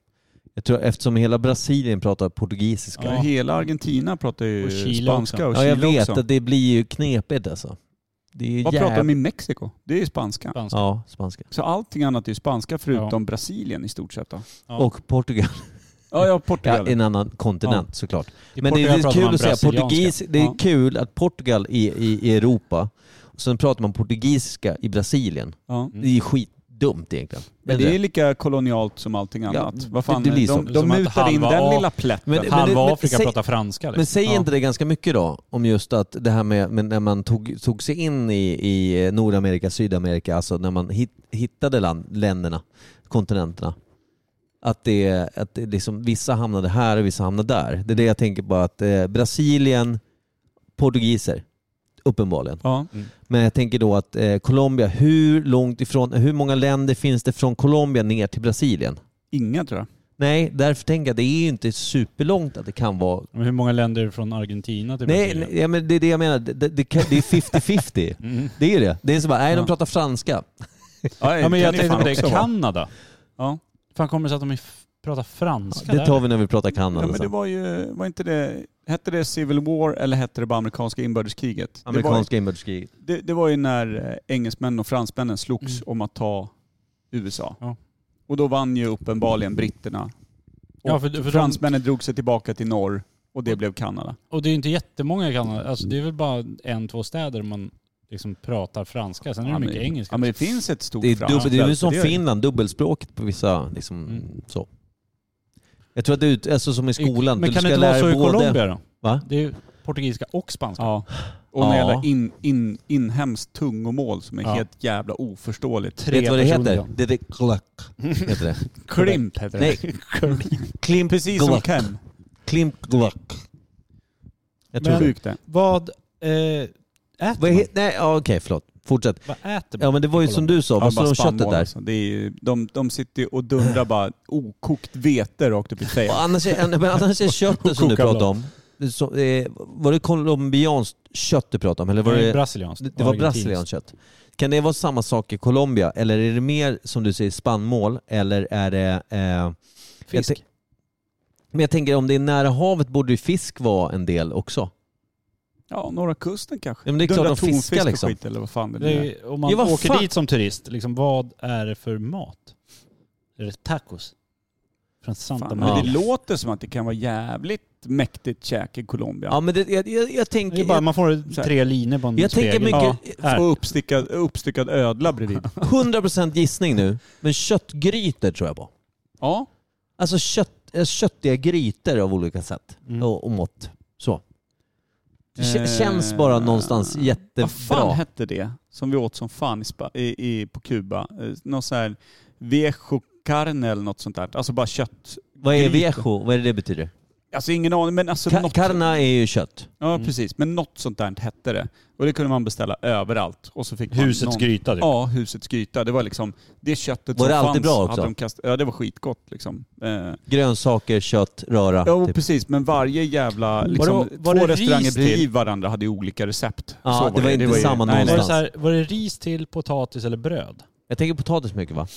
Speaker 1: jag. tror eftersom hela Brasilien pratar portugisiska.
Speaker 5: Ja.
Speaker 2: Ja. Hela Argentina pratar ju
Speaker 5: Och Chile
Speaker 2: spanska
Speaker 5: också.
Speaker 2: och
Speaker 1: Ja,
Speaker 2: Chile
Speaker 1: jag vet
Speaker 2: också.
Speaker 1: att det blir ju knepigt alltså. Det är
Speaker 2: Vad pratar de i Mexiko? Det är ju spanska.
Speaker 5: Spanska.
Speaker 1: Ja, spanska.
Speaker 2: Så allting annat är ju spanska förutom Brasilien i stort sett då.
Speaker 5: Ja.
Speaker 1: Och Portugal.
Speaker 2: Ja, ja
Speaker 1: Ja,
Speaker 2: Portugal.
Speaker 1: en annan kontinent såklart.
Speaker 5: I
Speaker 1: Men det
Speaker 5: Portugal
Speaker 1: är
Speaker 5: pratar man
Speaker 1: kul att säga
Speaker 5: brasilianska.
Speaker 1: portugis. Det är
Speaker 2: Ja.
Speaker 1: kul att
Speaker 5: Mm.
Speaker 1: Portugal är i, i Europa och sen pratar man portugisiska i Brasilien.
Speaker 2: Ja.
Speaker 1: Det är skit dumt egentligen.
Speaker 2: Men det är lika kolonialt som allting annat. Vad fan,
Speaker 1: det blir så.
Speaker 2: de, de
Speaker 5: Som att
Speaker 2: mutade in
Speaker 5: halva
Speaker 2: den
Speaker 5: A-
Speaker 2: lilla plätten.
Speaker 1: Men-
Speaker 5: Halva
Speaker 1: men
Speaker 5: Afrika
Speaker 1: säg-
Speaker 5: pratar franska. liksom.
Speaker 1: Men säger
Speaker 5: Ja.
Speaker 1: inte det ganska mycket då? Om just att det här med, med när man tog, tog sig in i, i Nordamerika, Sydamerika, alltså när man hit, hittade land, länderna, kontinenterna. Att, det, att det liksom, vissa hamnade här och vissa hamnade där. Det är det jag tänker på att eh, Brasilien, portugiser, uppenbarligen.
Speaker 2: Ja.
Speaker 1: Men jag tänker då att eh, Colombia, hur långt ifrån, hur många länder finns det från Colombia ner till Brasilien?
Speaker 2: Inga tror jag.
Speaker 1: Nej, därför tänker jag att det är ju inte superlångt att det kan vara
Speaker 5: Men hur många länder från Argentina till
Speaker 1: Nej,
Speaker 5: Brasilien?
Speaker 1: nej ja, men det är det jag menar. Det, det, det kan- det är 50-50.
Speaker 5: Mm.
Speaker 1: Det är det. Det är så bara, nej
Speaker 5: Ja.
Speaker 1: de pratar franska.
Speaker 5: Ja, men jag
Speaker 2: det kan ju
Speaker 5: tänkte
Speaker 2: fan
Speaker 5: på det.
Speaker 2: också vara.
Speaker 5: Kanada.
Speaker 2: Ja.
Speaker 5: fan kommer det sig att de f- pratar franska
Speaker 1: Det tar vi när vi pratar
Speaker 2: Ja,
Speaker 1: Kanada
Speaker 2: men det
Speaker 1: sen.
Speaker 2: var ju, var inte det, hette det Civil War eller hette det bara amerikanska inbördeskriget?
Speaker 1: Amerikanska inbördeskriget.
Speaker 2: Det var, det, det var ju när eh, engelsmännen och fransmännen slogs
Speaker 5: Mm.
Speaker 2: om att ta USA.
Speaker 5: Ja.
Speaker 2: Och då vann ju uppenbarligen britterna.
Speaker 5: Ja, för, för de,
Speaker 2: Fransmännen drog sig tillbaka till norr och det blev Kanada.
Speaker 5: och det är inte jättemånga i Kanada. Alltså, det är väl bara en, två städer man liksom pratar franska. Sen är det
Speaker 2: Ja, men-
Speaker 5: mycket engelska.
Speaker 2: Ja men det finns ett stort
Speaker 1: Det är,
Speaker 2: franskt
Speaker 1: dubbel, det
Speaker 5: E
Speaker 1: är ju
Speaker 2: fält,
Speaker 1: som
Speaker 2: det det.
Speaker 1: Finland, dubbelspråket på vissa... Liksom,
Speaker 5: Mm.
Speaker 1: så. Jag tror att det är ut, alltså, som i skolan.
Speaker 5: Men
Speaker 1: du
Speaker 5: kan
Speaker 1: ska
Speaker 5: det inte
Speaker 1: lära
Speaker 5: vara så i
Speaker 1: dig både-
Speaker 5: Colombia då?
Speaker 1: Va?
Speaker 5: Det är ju portugisiska och spanska.
Speaker 2: Ja. Alltså. Och något
Speaker 1: Ja.
Speaker 2: jävla in, in, inhemskt tungomål som är
Speaker 5: Ja.
Speaker 2: helt jävla oförståeligt.
Speaker 1: Vet du vad det
Speaker 5: personer,
Speaker 1: heter?
Speaker 5: ja.
Speaker 1: Det är det klack. Heter det.
Speaker 2: Klimp heter det.
Speaker 1: Nej. Klimp
Speaker 2: Precis som
Speaker 1: glack.
Speaker 2: Kem.
Speaker 1: Klimp glack. Jag tror
Speaker 5: Men-
Speaker 1: det.
Speaker 2: Sjukt det.
Speaker 5: Vad eh, äter
Speaker 1: Vad
Speaker 5: man?
Speaker 1: he- Nej, ja, okej, förlåt. Fortsätt.
Speaker 5: Vad äter man?
Speaker 1: Ja men det var ju som du sa, vad sa de
Speaker 2: bara
Speaker 1: om köttet
Speaker 2: spannmål
Speaker 1: där?
Speaker 2: alltså. Det är, ju- de, de sitter ju och dundrar bara okokt vete rakt upp i fejan.
Speaker 1: Och annars, är, men annars är köttet som du pratade om, så, eh, var det colombianskt kött du pratade om? Eller var
Speaker 5: det
Speaker 1: det,
Speaker 5: brasilianskt.
Speaker 1: det var
Speaker 5: Argentinskt.
Speaker 1: brasilianskt kött. Kan det vara samma sak i Colombia? Eller är det mer som du säger spannmål? Eller är det... Eh,
Speaker 5: Fisk.
Speaker 1: Jag tän- men jag tänker om det är nära havet borde ju fisk vara en del också.
Speaker 2: Ja, norra kusten kanske.
Speaker 1: Ja, men det är klart
Speaker 2: Dundrar
Speaker 1: de fiskar
Speaker 2: tonfisk och
Speaker 1: liksom.
Speaker 2: Skit, eller vad fan det
Speaker 5: Det är,
Speaker 2: är.
Speaker 5: ju- om man
Speaker 1: Ja, vad
Speaker 5: åker
Speaker 1: fan?
Speaker 5: dit som turist, liksom, vad är det för mat? Är det tacos? Från Santa
Speaker 2: Fan,
Speaker 5: Maria?
Speaker 2: men det låter som att det kan vara jävligt mäktigt käk i Colombia.
Speaker 1: Ja men det, jag, jag, jag
Speaker 5: Det
Speaker 1: tänker...
Speaker 5: är bara,
Speaker 1: Jag,
Speaker 5: man får tre linor på en
Speaker 1: jag
Speaker 5: spegel.
Speaker 1: tänker
Speaker 2: Mm, Ja.
Speaker 1: mycket...
Speaker 5: Här.
Speaker 2: Och uppstyckad, uppstyckad ödla bredvid.
Speaker 1: 100% gissning nu, men köttgrytor tror jag på.
Speaker 2: ja,
Speaker 1: Alltså kött, eh, köttiga grytor av olika sätt
Speaker 5: Mm.
Speaker 1: och, och mått. Så. Det kä-
Speaker 2: Eh,
Speaker 1: känns bara någonstans jättebra.
Speaker 2: vad fan hette det som vi åt som fan i, Spa- i, i, på Kuba? Eh, Någon sån här viejo carne eller något sånt där. Alltså bara kött.
Speaker 1: Vad är
Speaker 2: Grytor.
Speaker 1: viejo? Vad är det det betyder?
Speaker 2: Alltså ingen aning men alltså
Speaker 1: Ka- Mm.
Speaker 2: något...
Speaker 1: Karna är ju kött.
Speaker 2: Ja precis, men något sånt där hette det. Och det kunde man beställa överallt. Och så fick man
Speaker 5: Husets
Speaker 2: någon...
Speaker 5: gryta typ.
Speaker 2: Ja, husets gryta. Det var liksom det köttet
Speaker 1: Var
Speaker 2: som
Speaker 1: det alltid
Speaker 2: fanns.
Speaker 1: bra också?
Speaker 2: hade De kast... Ja, det var skitgott liksom. Eh,
Speaker 1: Grönsaker, kött, röra.
Speaker 2: ja, och
Speaker 1: typ.
Speaker 2: precis. Men varje jävla... Liksom,
Speaker 5: det- var
Speaker 2: två
Speaker 5: det ris
Speaker 2: restauranger bredvid
Speaker 5: till?
Speaker 2: varandra hade ju olika recept.
Speaker 1: Ja,
Speaker 2: Så
Speaker 1: det var inte
Speaker 2: ju-
Speaker 1: samma
Speaker 2: nej, nej.
Speaker 5: var, det
Speaker 1: någonstans.
Speaker 5: så här, var det ris till, potatis eller bröd?
Speaker 1: Jag tänker potatis mycket va?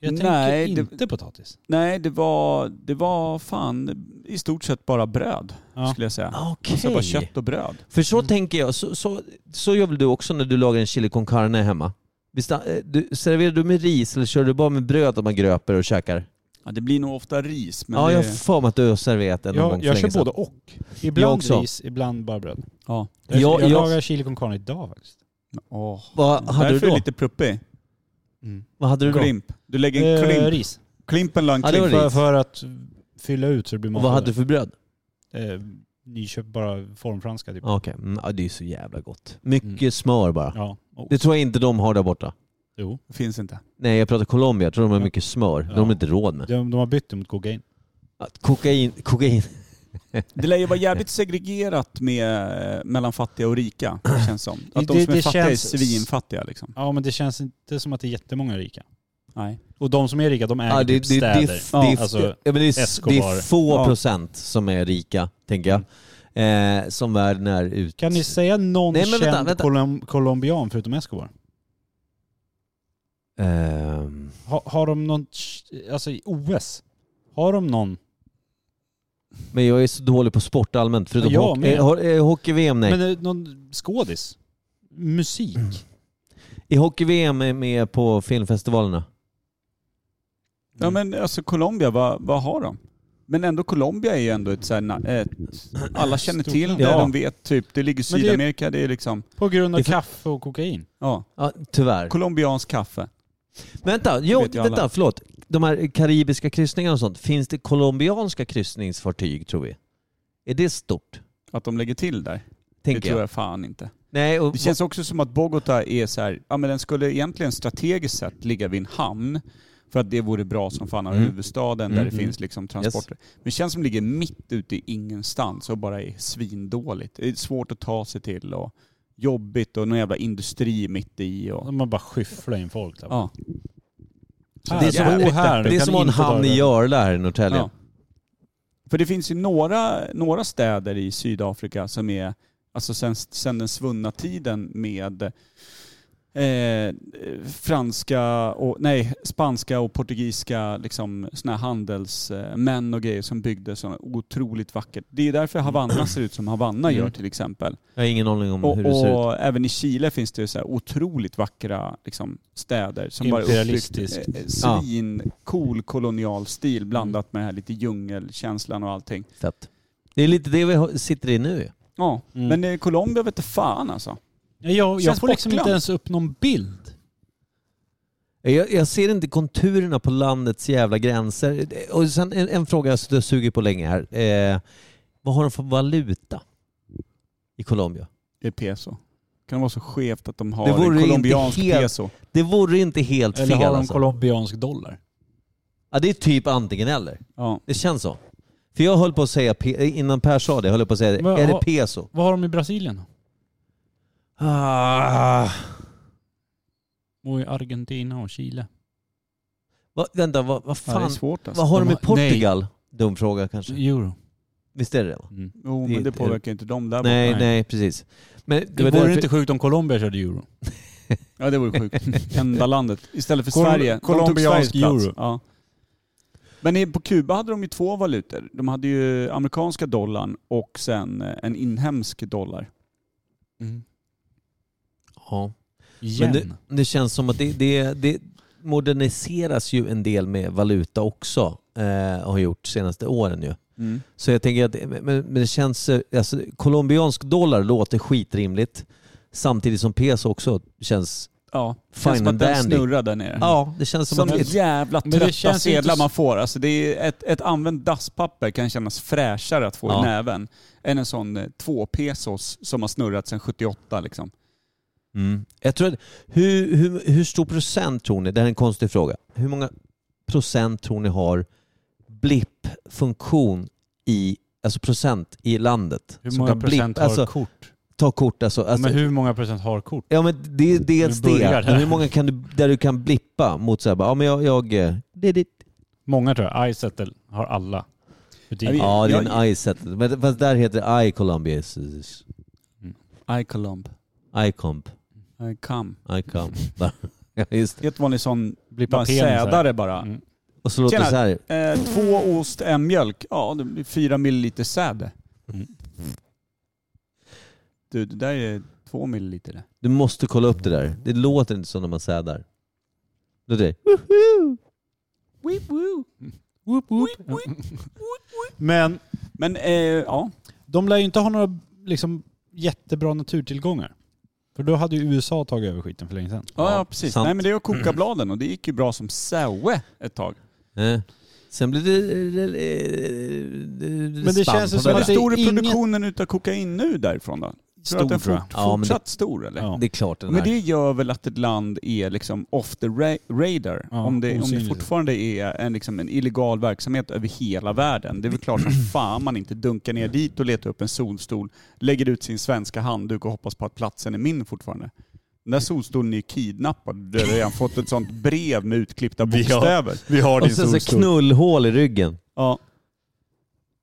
Speaker 5: Jag
Speaker 2: Nej, det-
Speaker 5: tänker inte potatis.
Speaker 2: Nej, det var, det var fan i stort sett bara bröd
Speaker 5: Ja.
Speaker 2: skulle jag säga.
Speaker 1: Ah, Okej.
Speaker 2: Så bara kött och bröd.
Speaker 1: Alltså, För så tänker jag. Så, så, så gör väl du också när du lagar en chili con carne hemma? Visst, eh, du, serverar du med ris eller kör du bara med bröd att man gröper och käkar?
Speaker 2: Ja, det blir nog ofta ris. Men
Speaker 1: ja,
Speaker 2: det,
Speaker 1: jag har för mig att du har serverat det någon
Speaker 5: Jag,
Speaker 1: gång för
Speaker 5: jag
Speaker 1: länge
Speaker 5: kör
Speaker 1: sedan.
Speaker 5: både och. Ibland
Speaker 1: också.
Speaker 5: ris, ibland bara bröd.
Speaker 2: ja.
Speaker 5: Jag,
Speaker 1: Ja, jag-
Speaker 5: jag, lagar chili con carne idag faktiskt.
Speaker 2: Åh.
Speaker 1: Vad Ah, hade du
Speaker 2: Därför är
Speaker 1: då?
Speaker 2: det lite pruppig.
Speaker 1: Vad hade du då?
Speaker 2: Klimp. Du lägger en
Speaker 5: Mm. Eh,
Speaker 2: klimp.
Speaker 5: ris.
Speaker 2: Klimpen la en
Speaker 1: Ja, det var
Speaker 2: klimp.
Speaker 5: För,
Speaker 1: ris.
Speaker 5: för att fylla ut så det blir
Speaker 1: Och
Speaker 5: mat.
Speaker 1: vad hade du för bröd?
Speaker 5: eh, Nyköpt bara formfranska typ.
Speaker 1: Ah, Okej, mm, ja, det är ju så jävla gott. Mycket
Speaker 2: Mm.
Speaker 1: smör bara.
Speaker 5: Ja. Och,
Speaker 1: Det tror jag inte de har där borta.
Speaker 5: jo.
Speaker 2: Finns inte.
Speaker 1: Nej, jag pratar Colombia. Jag tror de har mycket smör. Det har de
Speaker 5: Ja.
Speaker 1: inte råd med.
Speaker 5: De, de har bytt det mot kokain.
Speaker 1: Att kokain, kokain.
Speaker 2: Det lär ju vara jävligt segregerat med, eh, mellan fattiga och rika, känns som. Att de
Speaker 5: Det-
Speaker 2: som är
Speaker 5: det
Speaker 2: fattiga
Speaker 5: känns-
Speaker 2: är svinfattiga liksom.
Speaker 5: Ja men det känns inte som att det är jättemånga rika.
Speaker 2: Nej.
Speaker 5: Och de som är rika de äger
Speaker 1: Ja, det, det,
Speaker 5: typ
Speaker 1: det,
Speaker 5: städer.
Speaker 1: det, det,
Speaker 5: alltså,
Speaker 1: ja, men det, är,
Speaker 5: Escobar.
Speaker 1: det är få
Speaker 2: Ja.
Speaker 1: procent som är rika, tänker jag. Eh, som världen är ut.
Speaker 5: Mm. Kan ni säga någon
Speaker 1: Nej, men
Speaker 5: känd
Speaker 1: vänta, vänta.
Speaker 5: Colom- colombian förutom Escobar?
Speaker 1: Ehm,
Speaker 5: Ha, har de någon, ch- alltså i OS, har de någon?
Speaker 1: men jag är så dålig på sport allmänt, förutom
Speaker 5: Ja, jag
Speaker 1: hockey,
Speaker 5: med.
Speaker 1: eh, ho- eh, hockey-VM. Nej.
Speaker 5: Men eh, någon skådis? Musik?
Speaker 1: I hockey-VM är med på filmfestivalerna.
Speaker 2: Ja men alltså Colombia, vad, vad har de? Men ändå Colombia är ju ändå ett så här, na- ett, alla känner
Speaker 5: Stort
Speaker 2: till
Speaker 5: land.
Speaker 2: det,
Speaker 1: Ja.
Speaker 2: de vet typ, det ligger i
Speaker 5: Men det är-
Speaker 2: Sydamerika, det är liksom,
Speaker 5: På grund av
Speaker 1: Det är för-
Speaker 5: kaffe och kokain?
Speaker 2: ja,
Speaker 1: Ja, tyvärr.
Speaker 2: colombiansk kaffe.
Speaker 1: Vänta, jo,
Speaker 2: vet ju alla.
Speaker 1: vänta, förlåt. De här karibiska kryssningarna och sånt, finns det colombianska kryssningsfartyg tror vi? Är det stort?
Speaker 2: Att de lägger till där, det
Speaker 1: Tänker
Speaker 2: tror
Speaker 1: jag.
Speaker 2: jag fan inte.
Speaker 1: Nej, och,
Speaker 2: Det känns också som att Bogota är så här, ja men den skulle egentligen strategiskt sett ligga vid en hamn för att det vore bra som fan av
Speaker 1: Mm.
Speaker 2: huvudstaden där
Speaker 1: Mm.
Speaker 2: det finns liksom transporter. Men det känns som det ligger mitt ute i ingenstans och bara är svindåligt. Det är svårt att ta sig till och jobbigt och någon jävla industri mitt i. Och,
Speaker 5: Man bara skyfflar in folk där.
Speaker 2: ja.
Speaker 5: Här,
Speaker 1: Det är som-
Speaker 5: bo här.
Speaker 1: det
Speaker 5: Du
Speaker 1: är
Speaker 5: kan
Speaker 1: som att ha en
Speaker 5: inte
Speaker 1: hamn
Speaker 5: dra
Speaker 1: i
Speaker 5: det.
Speaker 1: Jörla här i Norrtälje.
Speaker 2: Ja. För det finns ju några, några städer i Sydafrika som är, alltså sen, sen den svunna tiden med eh, franska, och, nej, spanska och portugisiska liksom, såna här handelsmän och grejer som byggde sådana otroligt vackert. Det är därför Havanna ser ut som Havanna gör
Speaker 1: Mm.
Speaker 2: till exempel.
Speaker 1: Jag har ingen aning om
Speaker 2: Och,
Speaker 1: hur det ser ut.
Speaker 2: och även i Chile finns det så här otroligt vackra liksom, städer som bara är uppbyggt
Speaker 5: Imperialistiskt.
Speaker 2: eh, svincool kolonial stil blandat med den här lite djungelkänslan och allting.
Speaker 1: Fett. Det är lite det vi har- sitter i nu.
Speaker 2: Ja,
Speaker 5: Mm.
Speaker 2: men eh, Colombia vet fan alltså.
Speaker 5: Ja, Jag, jag
Speaker 2: Känns
Speaker 5: får liksom inte
Speaker 2: bortglömt.
Speaker 5: ens upp någon bild.
Speaker 1: Jag, jag ser inte konturerna på landets jävla gränser. Och sen en, en fråga jag suttit och suger på länge här. Eh, vad har de för valuta i Colombia?
Speaker 2: Det är peso. Kan det vara så skevt att de
Speaker 1: Det
Speaker 2: har
Speaker 1: vore
Speaker 2: en
Speaker 1: inte
Speaker 2: colombiansk
Speaker 1: helt
Speaker 2: peso?
Speaker 1: Det vore inte helt
Speaker 5: Eller har
Speaker 1: fel
Speaker 5: de
Speaker 1: alltså.
Speaker 5: colombiansk dollar?
Speaker 1: ja, Det är typ antingen eller.
Speaker 2: Ja.
Speaker 1: Det känns så. För jag höll på att säga, pe- innan Per sa det, höll jag på att säga
Speaker 5: Men
Speaker 1: det. Är det
Speaker 5: har-
Speaker 1: peso?
Speaker 5: Vad har de i Brasilien?
Speaker 1: Ah.
Speaker 5: Och i Argentina och Chile?
Speaker 1: Va, vänta, vad vad
Speaker 2: Ja, det är
Speaker 1: fan?
Speaker 2: svårt alltså.
Speaker 1: vad har de
Speaker 5: De
Speaker 1: i
Speaker 5: har- nej.
Speaker 1: Portugal? Dum fråga kanske.
Speaker 5: Euro.
Speaker 1: Visst är det det? va?
Speaker 5: Mm.
Speaker 2: Jo,
Speaker 1: Det är
Speaker 2: men det
Speaker 1: inte-
Speaker 2: påverkar ju inte dem där
Speaker 1: Nej,
Speaker 5: nej.
Speaker 1: nej, precis. Men
Speaker 5: Det vore inte sjukt om Colombia körde euro.
Speaker 2: borta. Ja, det vore sjukt. Enda landet. Istället för
Speaker 5: Col-
Speaker 2: Sverige.
Speaker 5: colombiansk
Speaker 2: de tog Sveriges plats.
Speaker 5: euro.
Speaker 2: Ja. Men i- på Kuba hade de ju två valutor. De hade ju amerikanska dollarn och sen eh, en inhemsk dollar.
Speaker 1: Ja.
Speaker 5: Igen.
Speaker 1: Mm. Men det, det känns som att det, det, det moderniseras ju en del med valuta också. Eh, har gjort senaste åren ju. Så jag tänker att men, men det känns, eh, alltså, colombiansk dollar låter skitrimligt. Samtidigt som peso också känns,
Speaker 2: Ja, det
Speaker 1: Fine
Speaker 2: känns som att
Speaker 1: and
Speaker 2: den
Speaker 1: dandy.
Speaker 2: snurrar där nere.
Speaker 5: Mm.
Speaker 1: ja det känns som,
Speaker 2: Som
Speaker 1: att...
Speaker 2: jävla
Speaker 5: Men det
Speaker 2: trötta
Speaker 5: känns ju inte
Speaker 2: sedlar
Speaker 5: så-
Speaker 2: man får. Alltså det är ett, ett använt dasspapper kan kännas fräschare att få
Speaker 1: Ja.
Speaker 2: i näven än en sån eh, två pesos som har snurrat sedan 78 liksom.
Speaker 1: Mm. Jag tror att, hur, hur, hur stor procent tror ni, det här är en konstig fråga, hur många procent tror ni har blipp-funktion i, alltså procent i landet?
Speaker 5: hur
Speaker 1: Som
Speaker 5: många
Speaker 1: kan blipp-
Speaker 5: procent har
Speaker 1: alltså,
Speaker 5: kort?
Speaker 1: ta kort alltså. alltså
Speaker 5: men hur många procent har kort?
Speaker 1: Ja men det är dels
Speaker 5: Nu börjar
Speaker 1: det.
Speaker 5: det.
Speaker 1: Men hur många kan du, där du kan blippa mot såhär, ja men jag... jag eh, det, det.
Speaker 5: Många tror jag. iSettle har alla.
Speaker 2: Ja, vi-
Speaker 1: Ja det är
Speaker 2: jag-
Speaker 1: en I-set. Men fast där heter det I-Colombia.
Speaker 2: I Colomb.
Speaker 1: I-comp.
Speaker 2: I come.
Speaker 1: I-comp. Ja, Just det.
Speaker 2: Helt vanlig sån
Speaker 5: Blippa
Speaker 2: bara sädare bara.
Speaker 5: Mm.
Speaker 1: Och så låter det
Speaker 2: Tjena.
Speaker 1: såhär.
Speaker 2: Eh, två ost, en mjölk. Ja, det blir fyra milliliter säd.
Speaker 5: Mm.
Speaker 2: Du, det där är två milliliter det.
Speaker 1: Du måste kolla upp det där. Det låter inte så när man sädar. Låter det?
Speaker 5: Whoop, whoop. Men
Speaker 2: Men eh, ja,
Speaker 5: de lär ju inte ha några liksom, jättebra naturtillgångar. För då hade ju USA tagit över skiten för länge sedan.
Speaker 2: ja,
Speaker 1: Ja,
Speaker 2: ja precis.
Speaker 1: sant.
Speaker 2: Nej men det är att koka
Speaker 5: Mm.
Speaker 2: bladen och det gick ju bra som saue ett tag.
Speaker 1: Eh. Sen blir det... eh, Men
Speaker 5: det känns ju som
Speaker 2: Hur
Speaker 5: att det är
Speaker 2: stor är
Speaker 5: ingen-
Speaker 2: produktionen utav kokain nu därifrån då? Tror du att den
Speaker 5: tror jag.
Speaker 2: fort,
Speaker 1: Ja, men det-
Speaker 2: fortsatt stor eller?
Speaker 5: Ja.
Speaker 1: Det är klart den
Speaker 2: Men
Speaker 1: här.
Speaker 2: det gör väl att ett land är liksom off the ra- radar?
Speaker 5: Ja,
Speaker 2: om, det, om det
Speaker 5: osynligt.
Speaker 2: fortfarande är en, liksom en illegal verksamhet över hela världen. Det är väl klart som fan man inte dunkar ner dit och letar upp en solstol, lägger ut sin svenska handduk och hoppas på att platsen är min fortfarande. Den där solstolen är ju kidnappad. Du har redan fått ett sånt brev med utklippta
Speaker 5: Vi har-
Speaker 2: bokstäver.
Speaker 5: Vi har
Speaker 1: Och sen så knullhål i ryggen.
Speaker 2: Ja.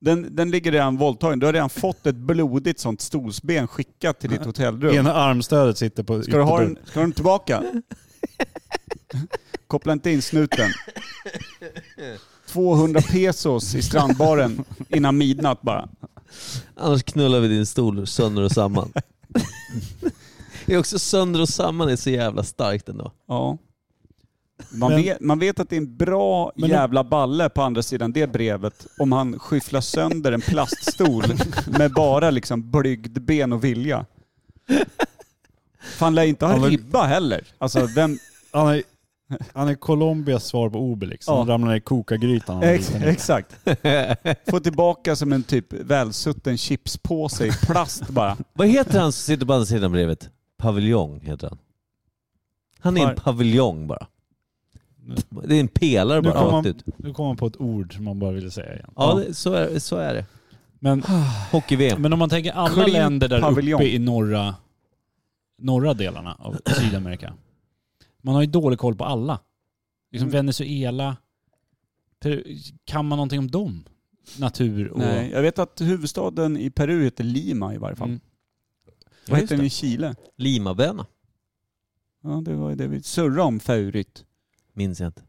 Speaker 2: Den, den ligger redan våldtagen. Du har redan fått ett blodigt sånt stolsben skickat till ditt hotellrum.
Speaker 5: Ena armstödet sitter på
Speaker 2: Ska du ha den,
Speaker 5: ytterbordet.
Speaker 2: ska du ha den tillbaka? Koppla inte in snuten. 200 pesos i strandbaren innan midnatt bara.
Speaker 1: Annars knullar vi din stol sönder och samman. det är också sönder och samman är så jävla starkt ändå.
Speaker 2: Ja. Man,
Speaker 5: Men-
Speaker 2: vet, man vet att det är en bra
Speaker 5: Men-
Speaker 2: jävla balle på andra sidan det brevet om han skyfflar sönder en plaststol med bara liksom blygd ben och vilja. Fan lär inte
Speaker 5: Han
Speaker 2: ha
Speaker 5: var-
Speaker 2: ribba heller. Alltså vem...
Speaker 5: Han har ju Han är Colombias svar på Obelix.
Speaker 2: Ja.
Speaker 5: Han ramlar ner i kokagrytan. när han var
Speaker 2: Ex-
Speaker 5: liten.
Speaker 2: exakt. Få tillbaka som en typ välsutten chipspåse i plast bara.
Speaker 1: Vad heter han som sitter på andra sidan brevet? Paviljong heter han. Han är en
Speaker 2: Par-
Speaker 1: paviljong bara. Det är en pelare
Speaker 5: Nu
Speaker 1: bara
Speaker 5: kommer
Speaker 1: rakt
Speaker 5: man-
Speaker 1: ut.
Speaker 5: Nu kom man på ett ord som man bara ville säga igen.
Speaker 1: Ja, det- så är, så är det.
Speaker 5: Men,
Speaker 1: Hockey-VM.
Speaker 5: men om man tänker alla
Speaker 2: Clean
Speaker 5: länder där
Speaker 2: paviljong.
Speaker 5: uppe i norra, norra delarna av Sydamerika. Man har ju dålig koll på alla. Liksom
Speaker 2: Mm.
Speaker 5: Venezuela. Peru- Kan man någonting om dem? Natur och...
Speaker 2: Nej, jag vet att huvudstaden i Peru heter Lima i varje fall.
Speaker 5: Mm.
Speaker 2: Vad
Speaker 1: just
Speaker 2: heter den i Chile?
Speaker 1: Limaböna.
Speaker 2: Ja, det var ju det vi surrade om förut.
Speaker 1: Minns jag inte.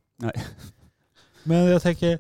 Speaker 5: Men jag tänker...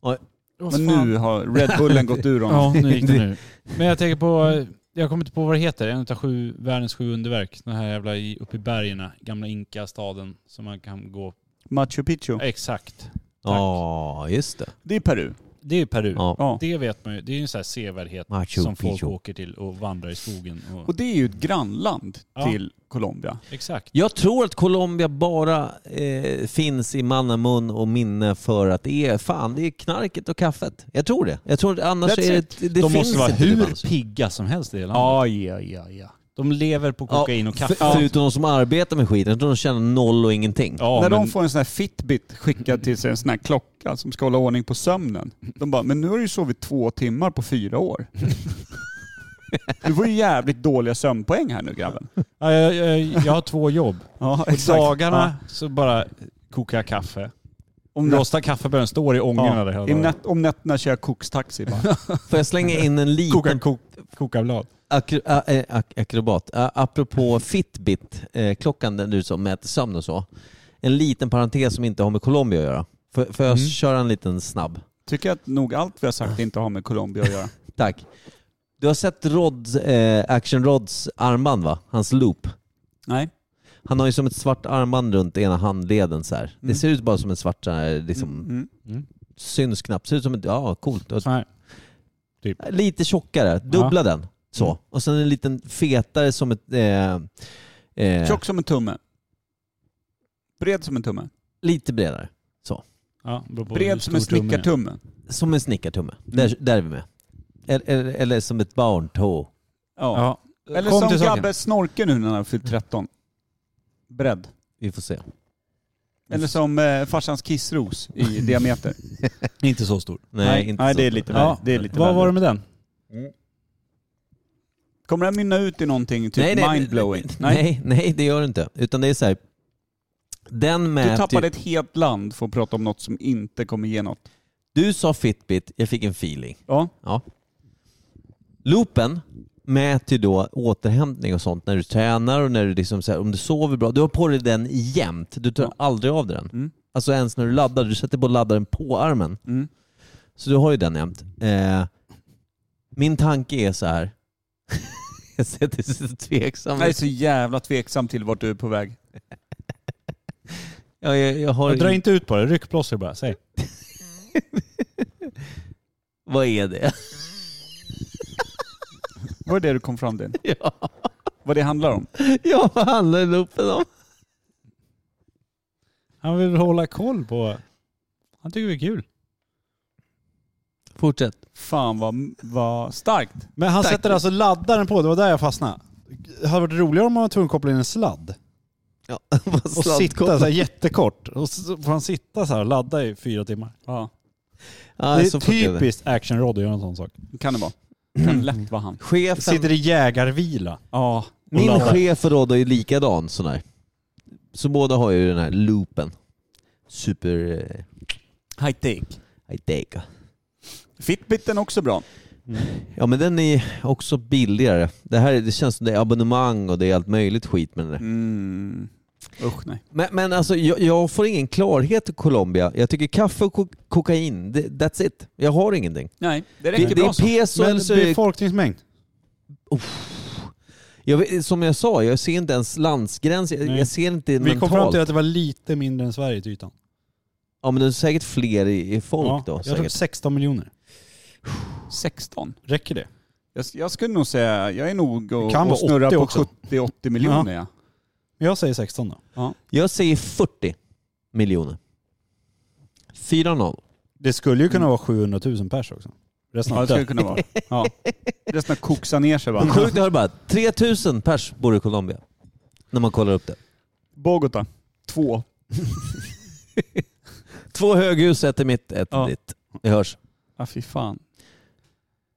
Speaker 1: Oj.
Speaker 5: Vad
Speaker 2: Men
Speaker 5: fan?
Speaker 2: nu har Red Bullen gått ur honom.
Speaker 5: Ja, nu gick det nu. Men jag tänker på, jag kommer inte på vad det heter, en av sju, världens sju underverk. Den här jävla i- uppe i bergen, gamla Inka-staden som man kan gå...
Speaker 2: Machu Picchu.
Speaker 5: Exakt.
Speaker 1: Ja, just det.
Speaker 2: Det är Peru.
Speaker 5: Det är ju Peru.
Speaker 1: Ja.
Speaker 2: Ja.
Speaker 5: Det vet man ju, det är ju en sån här sevärdhet
Speaker 1: Machu
Speaker 5: som folk
Speaker 1: Picchu.
Speaker 5: åker till och vandrar i skogen. Och,
Speaker 2: Och det är ju ett grannland
Speaker 5: Ja.
Speaker 2: till Colombia.
Speaker 5: exakt.
Speaker 1: Jag tror att Colombia bara eh, finns i mannamun och minne för att det är fan, det är knarket och kaffet. Jag tror det. Jag tror att annars
Speaker 2: That's
Speaker 1: är
Speaker 2: it.
Speaker 1: det, det
Speaker 5: De
Speaker 1: finns
Speaker 5: måste vara
Speaker 1: inte
Speaker 5: hur
Speaker 1: det
Speaker 5: pigga som helst i det landet.
Speaker 2: Ja, ja, ja, ja.
Speaker 5: De lever på kokain och kaffe.
Speaker 1: För, förutom de som arbetar med skiten. Jag tror de tjänar noll och ingenting.
Speaker 5: Ja,
Speaker 2: När
Speaker 5: men,
Speaker 2: de får en sån här fitbit skickad till sig, en sån här klocka som ska hålla ordning på sömnen. De bara, men nu har du ju sovit två timmar på fyra år. Du får ju jävligt dåliga sömnpoäng här nu grabben.
Speaker 5: Ja, jag, jag, jag har två jobb.
Speaker 2: Ja,
Speaker 5: På dagarna så bara kokar jag kaffe.
Speaker 2: Om, nät,
Speaker 5: Rostar kaffebönor, står i ångorna där hela
Speaker 2: ja, i
Speaker 5: dagen.
Speaker 2: nät, om nätterna kör jag kokstaxi bara.
Speaker 1: Får jag slänga in en
Speaker 5: Koka,
Speaker 1: liten
Speaker 5: kok, koka blad.
Speaker 1: akro, a, eh, ak, akrobat? A, apropå Fitbit, eh, klockan den du som mäter sömn och så. En liten parentes som inte har med Colombia att göra. Får, får jag
Speaker 5: Mm.
Speaker 1: köra en liten snabb?
Speaker 2: Tycker att nog allt vi har sagt inte har med Colombia att göra.
Speaker 1: Tack. Du har sett Rods, eh, Action Rods armband va? Hans loop.
Speaker 2: Nej.
Speaker 1: Han har ju som ett svart armband runt ena handleden så här. Det ser ut bara som en svart så här, liksom,
Speaker 2: Mm.
Speaker 1: syns knappt. Ser ut som ett, ja coolt.
Speaker 5: Så här.
Speaker 1: Lite tjockare, dubbla den. Så.
Speaker 5: Mm.
Speaker 1: Och sen en liten fetare som ett... Eh, eh,
Speaker 2: Tjock som en tumme. Bred som en tumme.
Speaker 1: Lite bredare.
Speaker 5: Ja, beror på hur
Speaker 2: Bred som en
Speaker 5: stor tummen är.
Speaker 2: snickartumme.
Speaker 1: Som en snickartumme. Där,
Speaker 2: Mm.
Speaker 1: där är vi med. Eller, eller, eller som ett barntå.
Speaker 2: Ja.
Speaker 5: Ja.
Speaker 2: Eller
Speaker 5: Kom
Speaker 2: som
Speaker 5: till saken.
Speaker 2: Gabbe Snorke nu när han har fyllt 13. Bredd.
Speaker 1: Vi får se.
Speaker 2: Eller som eh, farsans kissros i diameter.
Speaker 5: Inte så stor.
Speaker 1: Nej,
Speaker 2: Nej,
Speaker 1: inte
Speaker 2: nej,
Speaker 1: så.
Speaker 2: det är lite värre. Det är lite
Speaker 5: Vad
Speaker 2: värre.
Speaker 5: var det med den?
Speaker 2: Kommer den mynna ut i någonting typ
Speaker 1: Nej, nej,
Speaker 2: mindblowing? Nej.
Speaker 1: Nej, nej, det gör det inte. Utan det är så här. Den typ-
Speaker 2: Du
Speaker 1: mäter
Speaker 2: tappade
Speaker 1: ju,
Speaker 5: typ-
Speaker 2: ett helt land för att prata om något som inte kommer ge något.
Speaker 1: Du sa Fitbit, jag fick en feeling.
Speaker 2: Ja.
Speaker 1: Ja. Loopen mäter ju då återhämtning och sånt när du tränar och när du liksom så här, om du sover bra. Du har på dig den jämt. Du tar
Speaker 2: Ja.
Speaker 1: aldrig av dig den.
Speaker 2: Mm.
Speaker 1: Alltså ens när du laddar. Du sätter på laddaren på armen.
Speaker 2: Mm.
Speaker 1: Så du har ju den jämt. Eh, min tanke är så här. jag ser att du är så tveksam
Speaker 2: Jag är så jävla tveksam till vart du är på väg.
Speaker 1: jag, jag, jag har
Speaker 5: Dra inte ut på det. Ryck plåster bara. Säg.
Speaker 1: Vad är det?
Speaker 2: Var det det du kom fram till?
Speaker 1: ja.
Speaker 2: Vad det handlar om?
Speaker 1: ja, vad handlar loopen om?
Speaker 5: Han vill hålla koll på... Han tycker det är kul.
Speaker 1: Fortsätt.
Speaker 2: Fan vad, vad starkt.
Speaker 5: Men han
Speaker 1: Tack.
Speaker 5: sätter alltså laddaren på. Det var där jag fastnade. Det hade varit roligare om man var tvungen att koppla in en sladd.
Speaker 1: Ja,
Speaker 5: Och sitta så här jättekort. Och så får han sitta så här och ladda i fyra timmar.
Speaker 2: Ja.
Speaker 1: Ja,
Speaker 5: det
Speaker 1: så
Speaker 5: är
Speaker 1: fort jag-
Speaker 5: typiskt Action Rod att göra en sån sak.
Speaker 2: Kan det vara. Kan lätt vara han.
Speaker 1: Chefen
Speaker 5: Sitter i jägarvila.
Speaker 2: Ja.
Speaker 1: Min
Speaker 5: laddar.
Speaker 1: chef och Rodda är likadan sån här. Så båda har ju den här loopen. Super...
Speaker 2: High take.
Speaker 1: Eh, idea.
Speaker 2: Fitbiten också bra.
Speaker 1: ja men den är också billigare. Det här det känns som det är abonnemang och det är allt möjligt skit med den där.
Speaker 2: Mm. Usch nej.
Speaker 1: Men, men alltså jag, jag får ingen klarhet i Colombia. Jag tycker kaffe och kok- kokain, det, that's it. Jag har ingenting.
Speaker 2: Nej, det
Speaker 1: Det,
Speaker 2: räcker
Speaker 1: det
Speaker 2: bra så.
Speaker 1: är peso eller
Speaker 5: Men
Speaker 1: så är det
Speaker 5: befolkningsmängd.
Speaker 1: jag vet, Som jag sa, jag ser inte ens landsgräns. Jag,
Speaker 5: Nej.
Speaker 1: jag ser inte
Speaker 5: Vi kom
Speaker 1: mentalt.
Speaker 5: fram till att det var lite mindre än Sverige till ytan.
Speaker 1: Ja men det är säkert fler i, i folk
Speaker 5: Ja,
Speaker 1: då.
Speaker 5: jag tror
Speaker 1: Säkert.
Speaker 5: 16 miljoner.
Speaker 2: 16.
Speaker 5: Räcker det?
Speaker 2: Jag, jag skulle nog säga, jag är nog och,
Speaker 5: Det kan
Speaker 2: och
Speaker 5: vara
Speaker 2: snurrar
Speaker 5: 80
Speaker 2: på
Speaker 5: också.
Speaker 2: 70-80 miljoner. Ja.
Speaker 5: Jag säger 16 då.
Speaker 1: Jag säger 40. miljoner. 4-0.
Speaker 7: Det skulle ju kunna vara 700 000 pers också. Resten
Speaker 2: Ja,
Speaker 7: av
Speaker 2: det skulle
Speaker 7: dött.
Speaker 2: kunna vara. Ja. Resten har koksat ner sig va?
Speaker 1: Sjukt, jag hörde bara 3000 pers bor i Colombia. När man kollar upp det.
Speaker 2: Bogota, två.
Speaker 1: Två höghus, ett är mitt, ett är
Speaker 2: Ja.
Speaker 1: ditt. Det hörs.
Speaker 2: Ja, fy fan.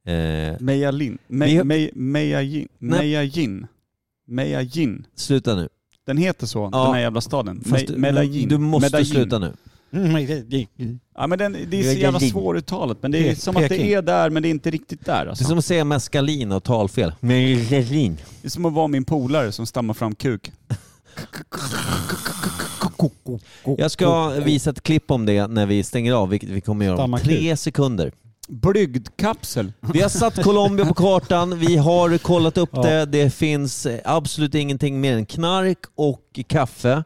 Speaker 1: Eh,
Speaker 2: Meja Lin.
Speaker 1: Meja-
Speaker 2: Me, me, meja Jin.
Speaker 1: Nej.
Speaker 2: Meja Jin. Meja Jin.
Speaker 1: sluta nu.
Speaker 2: Den heter så,
Speaker 1: Ja.
Speaker 2: den här jävla staden.
Speaker 1: Fast
Speaker 2: Me,
Speaker 1: du-
Speaker 2: Medellin.
Speaker 1: du måste
Speaker 2: Medellin.
Speaker 1: sluta nu.
Speaker 2: Ja, men den, det är så
Speaker 7: Medellin.
Speaker 2: jävla svåruttalat, men det är
Speaker 7: Pe-
Speaker 2: som att
Speaker 7: Peking.
Speaker 2: det är där men det är inte riktigt där.
Speaker 1: Det är
Speaker 2: Alltså.
Speaker 1: som att säga meskalin och talfel. Medellin.
Speaker 2: Det är som att vara min polare som stammar fram kuk.
Speaker 1: Jag ska visa ett klipp om det när vi stänger av, vilket vi kommer göra om
Speaker 7: Stamma
Speaker 1: tre sekunder.
Speaker 2: Blygdkapsel.
Speaker 1: Vi har satt Colombia på kartan, vi har kollat upp det. Det finns eh, absolut ingenting mer än knark och kaffe.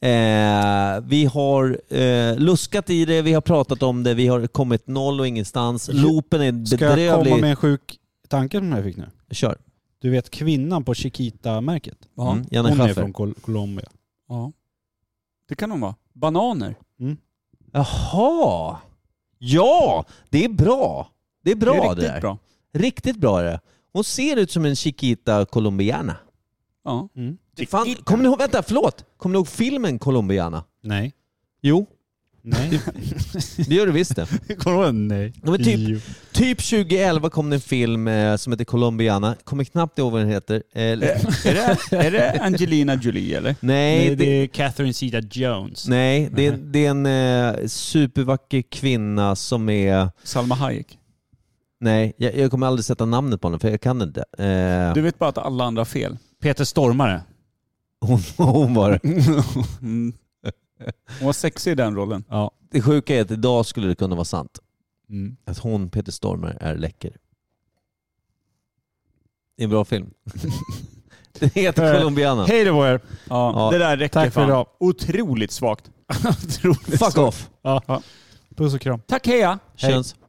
Speaker 1: Eh, vi har eh, luskat i det, vi har pratat om det, vi har kommit noll och ingenstans. Loopen är
Speaker 7: Ska jag komma
Speaker 1: bedrövlig.
Speaker 7: med en sjuk tanke som jag fick nu?
Speaker 1: Kör.
Speaker 7: Du vet kvinnan på Chiquita-märket?
Speaker 1: Mm, Janne
Speaker 7: Hon är
Speaker 1: Schaffer.
Speaker 7: från Col- Colombia.
Speaker 2: Ja. Det kan de vara. Bananer.
Speaker 1: Jaha! Ja, det är bra. Det är bra
Speaker 2: det
Speaker 1: det,
Speaker 2: är riktigt
Speaker 1: där.
Speaker 2: bra.
Speaker 1: Riktigt bra är det. Hon ser ut som en Chiquita Colombiana.
Speaker 2: Ja.
Speaker 1: Fan, kommer ni ihåg, vänta, förlåt. Kommer ni ihåg filmen Colombiana?
Speaker 7: Nej.
Speaker 1: Jo,
Speaker 7: Nej.
Speaker 1: det gör du visst det.
Speaker 7: Kommer du Nej.
Speaker 1: Ja, men typ- Typ 2011 kom det en film eh, som heter Colombiana. Kommer knappt ihåg vad den heter. Eh,
Speaker 2: Är det, är det Angelina Jolie eller?
Speaker 1: nej,
Speaker 5: Nej, det
Speaker 1: det,
Speaker 5: är Catherine Zeta Jones.
Speaker 1: nej det, det är en eh, supervacker kvinna som är...
Speaker 2: Salma Hayek.
Speaker 1: Nej, jag, jag kommer aldrig sätta namnet på henne för jag kan inte. Eh,
Speaker 2: Du vet bara att alla andra har fel.
Speaker 5: Peter Stormare.
Speaker 1: hon, hon var det.
Speaker 2: Mm. Hon var sexig i den rollen.
Speaker 5: Ja.
Speaker 1: Det sjuka är att idag skulle det kunna vara sant.
Speaker 5: Mm.
Speaker 1: Att hon, Peter Stormare, är läcker. Det är en bra film. Den heter
Speaker 7: Eh,
Speaker 1: Colombiana.
Speaker 7: Hej då på er.
Speaker 2: Ja,
Speaker 1: Ja.
Speaker 2: Det där räcker
Speaker 7: Tack för
Speaker 2: fan.
Speaker 7: idag.
Speaker 2: Otroligt svagt.
Speaker 1: Fuck off!
Speaker 7: Puss och kram.
Speaker 2: Tack heja!
Speaker 1: Känns.